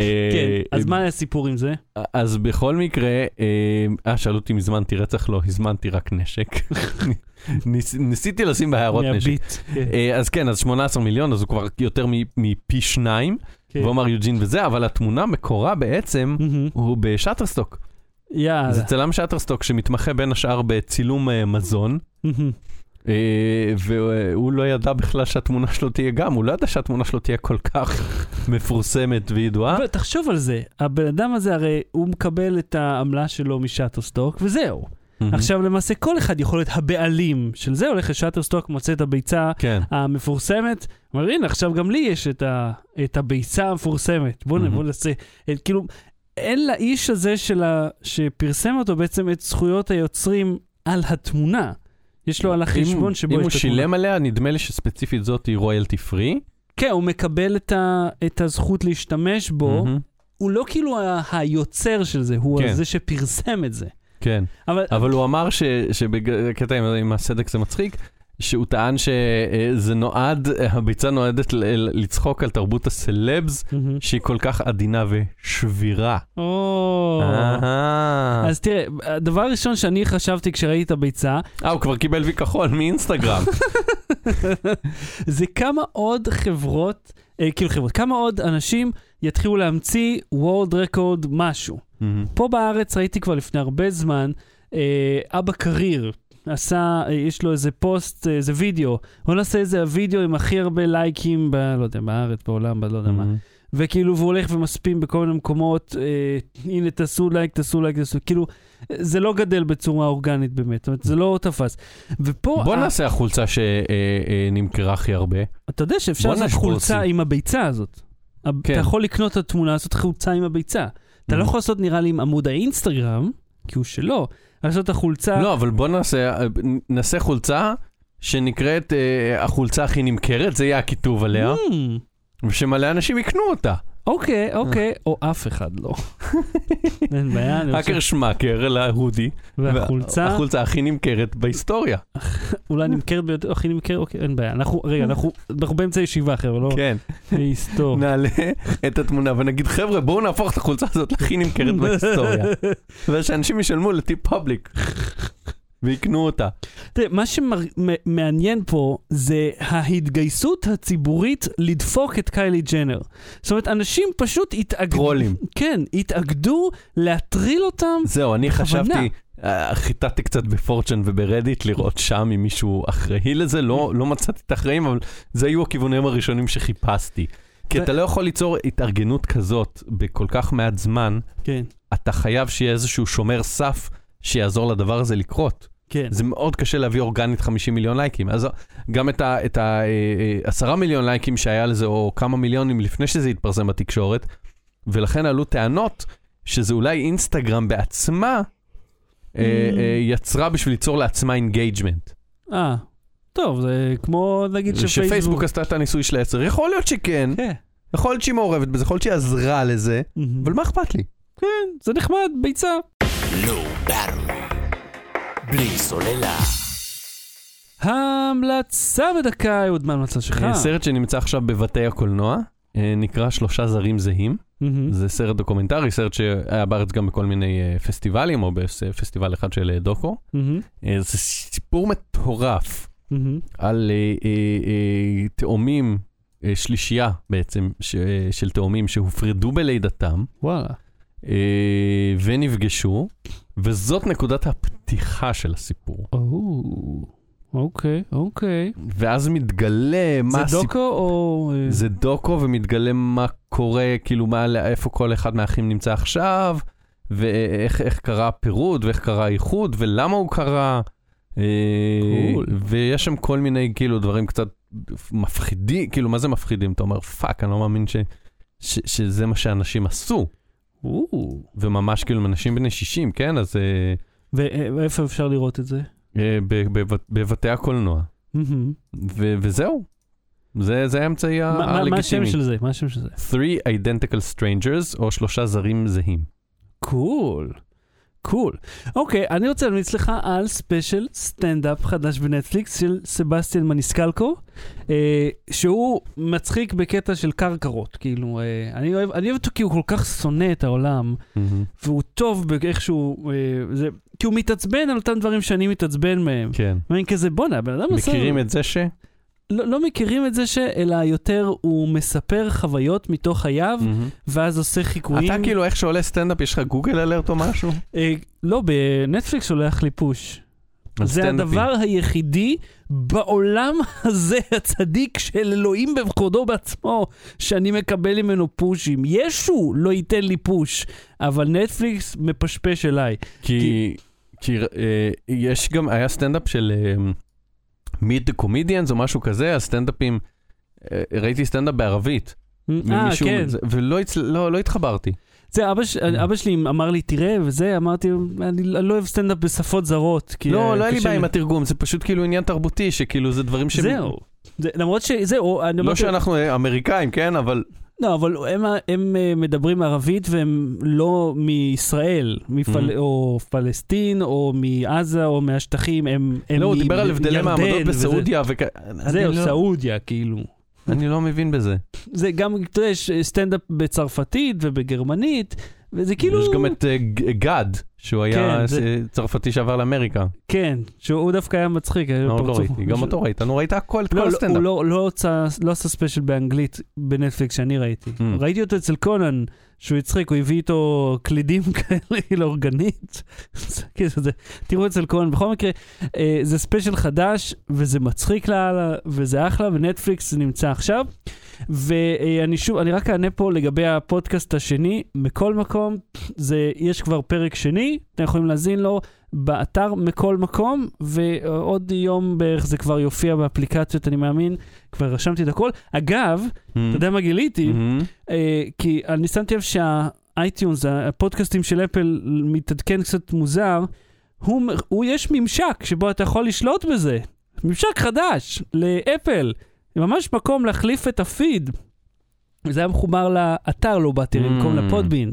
אה,
כן, אז
אה,
מה היה הסיפור עם זה?
אז בכל מקרה, אה, אה, שאלו אותי אם הזמנתי רצח, לא, הזמנתי רק נשק. ניס- ניסיתי לשים בהערות נשק.
מהביט. כן,
אה, אז כן, אז 18 מיליון, אז הוא כבר יותר מ- מפי שניים,
כן.
והוא אמר יוג'ין וזה, אבל התמונה מקורה בעצם,
מהמם.
הוא בשאטרסטוק.
יאללה.
זה צלם שטרסטוק שמתמחה בין השאר בצילום אה, מזון,
מהמם.
אה, והוא לא ידע בכלל שהתמונה שלו תהיה גם, הוא לא ידע שהתמונה שלו תהיה כל כך מפורסמת וידועה.
אבל תחשוב על זה, הבן אדם הזה הרי הוא מקבל את העמלה שלו משאטוסטוק וזהו.
מהמם.
עכשיו למעשה כל אחד יכול להיות הבעלים של זה, הולך לשאטוסטוק, מוצא את הביצה
כן.
המפורסמת. אומר, הנה, עכשיו גם לי יש את, ה, את הביצה המפורסמת. בואו
מהמם.
mm-hmm. נעשה, את, כאילו, אין לאיש הזה שלה, שפרסם אותו בעצם את זכויות היוצרים על התמונה. יש לו על החשבון
אם-
שבו
אם
יש
הוא
את התמונה.
שילם עליה, נדמה לי שספציפית זאת היא רויאלטי פרי.
כן, הוא מקבל את, ה, את הזכות להשתמש בו. Mm-hmm. הוא לא כאילו ה, היוצר של זה, הוא
כן.
כן. זה שפרסם את זה.
כן.
אבל,
אבל הוא אמר ש- שבקטע עם- עם הסדק זה מצחיק. שהוא טען שזה נועד, הביצה נועדת ל- ל- לצחוק על תרבות הסלבס
מהמם.
שהיא כל כך עדינה ושבירה. אה,
או...
אהה.
אז תראה, הדבר הראשון שאני חשבתי כשראיתי את הביצה,
אה, הוא כבר קיבל וי כחול מאינסטגרם.
זה כמה עוד חברות, אה, כאילו חברות, כמה עוד אנשים יתחילו להמציא World Record משהו. פה בארץ ראיתי כבר לפני הרבה זמן, אה, אבא קריר, עשה, אה, יש לו איזה פוסט, אה, איזה וידאו. הוא עושה איזה הוידאו עם הכי הרבה לייקים, ב, לא יודע, בארץ, בעולם, ב, לא יודע מה.
Mm-hmm.
וכאילו, והוא הולך ומספים בכל מיני מקומות, אה, הנה, תעשו לייק, תעשו לייק, תעשו, כאילו, אה, זה לא גדל בצורה אורגנית באמת, זאת אומרת, זה לא תפס. ופה,
בוא
ה-
נעשה החולצה שנמכרה הכי הרבה.
אתה יודע שאפשר
בוא
לעשות
נשפוץ.
חולצה עם הביצה הזאת. ה-
כן. Mhm.
אתה יכול לקנות את התמונה, לעשות חולצה עם הביצה. אתה לא יכול לעשות, נראה לי, עם עמוד האינסטגרם, כי הוא שלו, לעשות את החולצה...
לא, אבל בוא נעשה, נעשה חולצה שנקראת אה, החולצה הכי נמכרת, זה יהיה הכיתוב עליה,
Hmm.
ושמלא אנשים יקנו אותה.
אוקיי, אוקיי, או אף אחד לא. אין בעיה, אני חושב.
האקר שמאקר אלא הודי.
והחולצה,
החולצה הכי נמכרת בהיסטוריה.
אולי נמכרת ביותר, הכי נמכרת, אוקיי, אין בעיה. אנחנו, רגע, אנחנו אנחנו באמצע ישיבה, חבר'ה, לא
Hmm. כן.
היסטור.
נעלה את התמונה ונגיד, חבר'ה, בואו נהפוך את החולצה הזאת להכי נמכרת בהיסטוריה. ושאנשים ישלמו לטיפ פאבליק. ויקנו אותה.
תראה, מה שמעניין פה זה ההתגייסות הציבורית לדפוק את קיילי ג'נר. זאת אומרת, אנשים פשוט התאגדו...
טרולים.
כן, התאגדו להטריל אותם.
זהו, אני
בכוונה.
חשבתי, אה, חיטטתי קצת בפורצ'ן וברדיט לראות שם אם מישהו אחראי לזה, לא לא מצאתי את האחראים, אבל זה היו הכיוונים הראשונים שחיפשתי. כי
ו-
אתה לא יכול ליצור התארגנות כזאת בכל כך מעט זמן,
כן,
אתה חייב שיהיה איזשהו שומר סף שיעזור לדבר הזה לקרות.
כן.
זה מאוד קשה להביא אורגנית 50 מיליון לייקים. אז גם את ה- את ה- אה, אה, עשרה מיליון לייקים שהיה לזה, או כמה מיליונים לפני שזה התפרסם בתקשורת, ולכן עלו טענות שזה אולי אינסטגרם בעצמה אה,
Mm.
אה, יצרה בשביל ליצור לעצמה אינגייג'מנט.
אה, טוב, זה כמו נגיד שפייסבוק...
שפייסבוק עשתה את הניסוי של היצר, יכול להיות שכן,
כן.
יכול להיות שהיא מעורבת בזה, יכול להיות שהיא עזרה לזה, אבל מה אכפת לי?
כן, זה נחמד, ביצה.
Low Battery. לא, בלי סוללה.
ההמלצה בדקה, אהוד, מה ההמלצה שלך?
אה, סרט שנמצא עכשיו בבתי הקולנוע, אה, נקרא שלושה זרים זהים.
מהמם.
זה סרט דוקומנטרי, סרט שהיה בארץ גם בכל מיני אה, פסטיבלים, או בפסטיבל אחד של אה, דוקו.
מהמם.
אה, זה סיפור מטורף
מהמם.
על אה, אה, אה, תאומים, אה, שלישייה בעצם, ש, אה, של תאומים שהופרדו בלידתם
וואלה.
אה, ונפגשו, וזאת נקודת הפתיחה של הסיפור.
או, אוקיי, אוקיי.
ואז מתגלה מה
זה
הסיפור.
דוקו או... אה,
זה דוקו ומתגלה מה קורה, כאילו מה, איפה כל אחד מהאחים נמצא עכשיו, ואיך איך קרה הפירוד, ואיך קרה האיחוד, ולמה הוא קרה. אה,
קול.
ויש שם כל מיני כאילו דברים קצת מפחידים, כאילו מה זה מפחידים? אתה אומר פאק, אני לא מאמין ש, ש, שזה מה שאנשים עשו,
או.
וממש כאילו הם אנשים בני 60, כן? אז אה,
ואיפה אפשר לראות את זה?
אה, ב- ב- בבתי הקולנוע,
מהמם.
ו, וזהו. זה, זה האמצעי
מה- מה- מה השם
אה, הלגיטימי.
של זה? מה השם של זה?
Three identical strangers, או שלושה זרים זהים.
קול. קול. אוקיי, אני רוצה להמליץ לך על ספיישל סטנדאפ חדש בנטפליקס של סבסטיאן מניסקלקו, אה, שהוא מצחיק בקטע של קרקרות, כאילו, אה, אני אוהב אני אוהב אותו כי הוא כל כך שונא את העולם, והוא טוב באיך שהוא, אה, זה, כי הוא מתעצבן על אותם דברים שאני מתעצבן מהם.
כן.
ואני כזה, בואנה, בן אדם עושה...
מכירים את זה ש...
לא, לא מכירים את זה ש... אלא יותר הוא מספר חוויות מתוך חייו, ואז עושה חיקויים.
אתה כאילו איך שעולה סטנדאפ, יש לך גוגל אלרט או משהו?
אה, לא, בנטפליקס שולח לי פוש. זה
הסטנדאפים.
הדבר היחידי בעולם הזה, הצדיק של אלוהים בכבודו בעצמו, שאני מקבל ממנו פושים. ישו לא ייתן לי פוש, אבל נטפליקס מפשפש אליי.
כי... כי אה, יש גם, היה סטנדאפ של אה, מיד קומדיאנס או משהו כזה, הסטנדאפים, אה, ראיתי סטנדאפ בערבית.
אה,
ממישהו-
כן.
זה- ולא הצל- לא- לא התחברתי.
זה אבא, ש... אבא שלי אמר לי, תראה, וזה, אמרתי, אני לא אוהב סטנדאפ בשפות זרות. כי, אה,
לא, לא היה לי
קשה
בעיה עם
לי."
התרגום, זה פשוט כאילו עניין תרבותי, שכאילו זה דברים ש...
זהו. זה, למרות שזהו, אני
לא
אמרתי-
שאנחנו אה, אמריקאים, כן, אבל
לא, אבל הם, הם אה, מדברים ערבית והם לא מישראל, מפל...
Mhm.
או פלסטין, או מעזה, או מהשטחים, הם, הם
לא, הוא
מ-
דיבר על הבדלי
ירדן
מעמדות
וזה.
בסעודיה וכ...
זהו,
אני לא-
סעודיה, כאילו.
אני לא מבין בזה.
זה גם, אתה יודע, יש סטנדאפ בצרפתית אה, ובגרמנית, וזה כאילו...
יש גם את אה, ג- גד, שהוא היה
כן,
אה,
זה-
צרפתי שעבר לאמריקה.
כן, שהוא דווקא היה מצחיק. היה לו
לא, לא
פרצוף.
ראיתי, גם אותו ראית, נו ראית הכל, את
לא,
כל
לא, הוא
הסטנדאפ.
לא, לא, הוצא- לא עשה ספיישל באנגלית בנטפליקס שאני ראיתי.
Mm.
ראיתי אותו אצל קונן, שהוא הצחיק, הוא הביא איתו קלידים כאלה לאורגנית. זה כאילו זה- תראו אצל קונן, בכל מקרה, אה, זה ספיישל חדש, וזה מצחיק לאללה, וזה אחלה, ונטפליקס נמצא עכשיו. ואני שוב, אני רק אענה פה לגבי הפודקאסט השני, מכל מקום, זה, יש כבר פרק שני, אתם יכולים להזין לו באתר מכל מקום, ועוד יום בערך זה כבר יופיע באפליקציות, אני מאמין, כבר רשמתי את הכל. אגב,
Mm.
אתה יודע מה גיליתי?
מהמם.
אה, כי אני שמתי לב שהאייטיונס, הפודקאסטים של אפל, מתעדכן קצת מוזר. הוא, מ- הוא, יש ממשק שבו אתה יכול לשלוט בזה. ממשק חדש לאפל. ממש מקום להחליף את הפיד. זה היה מחובר לאתר לא באתי, במקום
Mm.
לפודבין.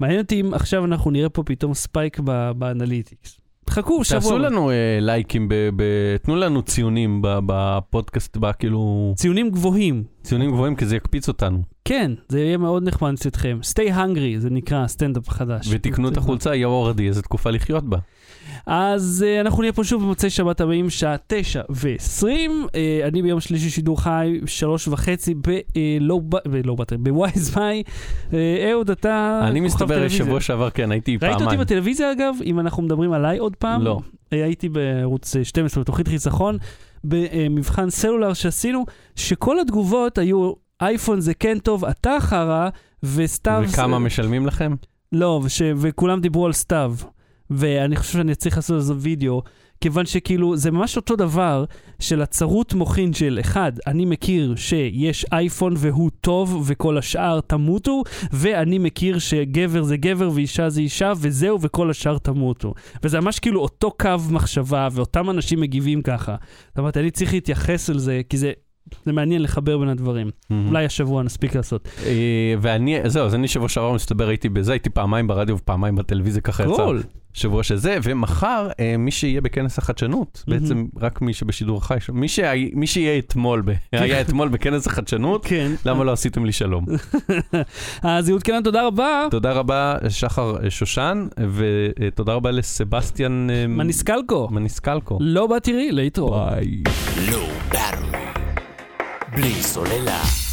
מעניין אותי אם עכשיו אנחנו נראה פה פתאום ספייק ב- באנליטיקס. חכו שבוע.
תעשו
הבא.
לנו אה, לייקים, ב- ב- תנו לנו ציונים ב- בפודקאסט, ב- כאילו,
ציונים גבוהים.
ציונים גבוהים, כי זה יקפיץ אותנו.
כן, זה יהיה מאוד נחמד אצלכם. stay hungry, זה נקרא הסטנדאפ החדש.
ותקנו את החולצה, יא אורדי, איזה תקופה לחיות בה.
אה, אז uh, אנחנו נהיה פה שוב במוצאי שבת הבאים, שעה תשע ועשרים. Uh, אני ביום שלישי שידור חי, שלוש וחצי, אה, לא בלואו באטר, בווייז ביי. אה, אהוד, אתה...
אני
כוכב
מסתבר,
טלוויזיה.
שבוע שעבר, כן, הייתי
ראית אותי
פעמיים.
בטלוויזיה אגב, אם אנחנו מדברים עליי עוד פעם?
לא.
אה, הייתי בערוץ אה, 12 בתוכנית חיסכון, במבחן סלולר שעשינו, שכל התגובות היו, אייפון זה כן טוב, אתה חרא, וסתיו... אה,
וכמה משלמים לכם?
לא, וש... וכולם דיברו על סתיו. ואני חושב שאני צריך לעשות על זה וידאו, כיוון שכאילו, זה ממש אותו דבר של הצרות מוחין של אחד, אני מכיר שיש אייפון והוא טוב וכל השאר תמותו, ואני מכיר שגבר זה גבר ואישה זה אישה וזהו וכל השאר תמותו. וזה ממש כאילו אותו קו מחשבה ואותם אנשים מגיבים ככה. זאת אומרת, אני צריך להתייחס אל זה, כי זה, זה מעניין לחבר בין הדברים.
Mm.
אולי השבוע נספיק לעשות.
אה, ואני, זהו, אז אני שבוע שעבר מסתבר הייתי בזה, הייתי פעמיים ברדיו ופעמיים בטלוויזיה, ככה יצא.
קרול.
שבוע שזה, ומחר אה, מי שיהיה בכנס החדשנות,
מהמם.
בעצם רק מי שבשידור חי, ש- מי, שה... מי שיהיה אתמול, ב... היה אתמול בכנס החדשנות,
כן.
למה לא עשיתם לי שלום?
אז יעודכן, תודה רבה.
תודה רבה שחר אה, שושן, ותודה רבה לסבסטיאן אה,
מניסקלקו.
מניסקלקו.
לא בא תראי, להתראות.
ביי.
Low Battery. Bli Solela.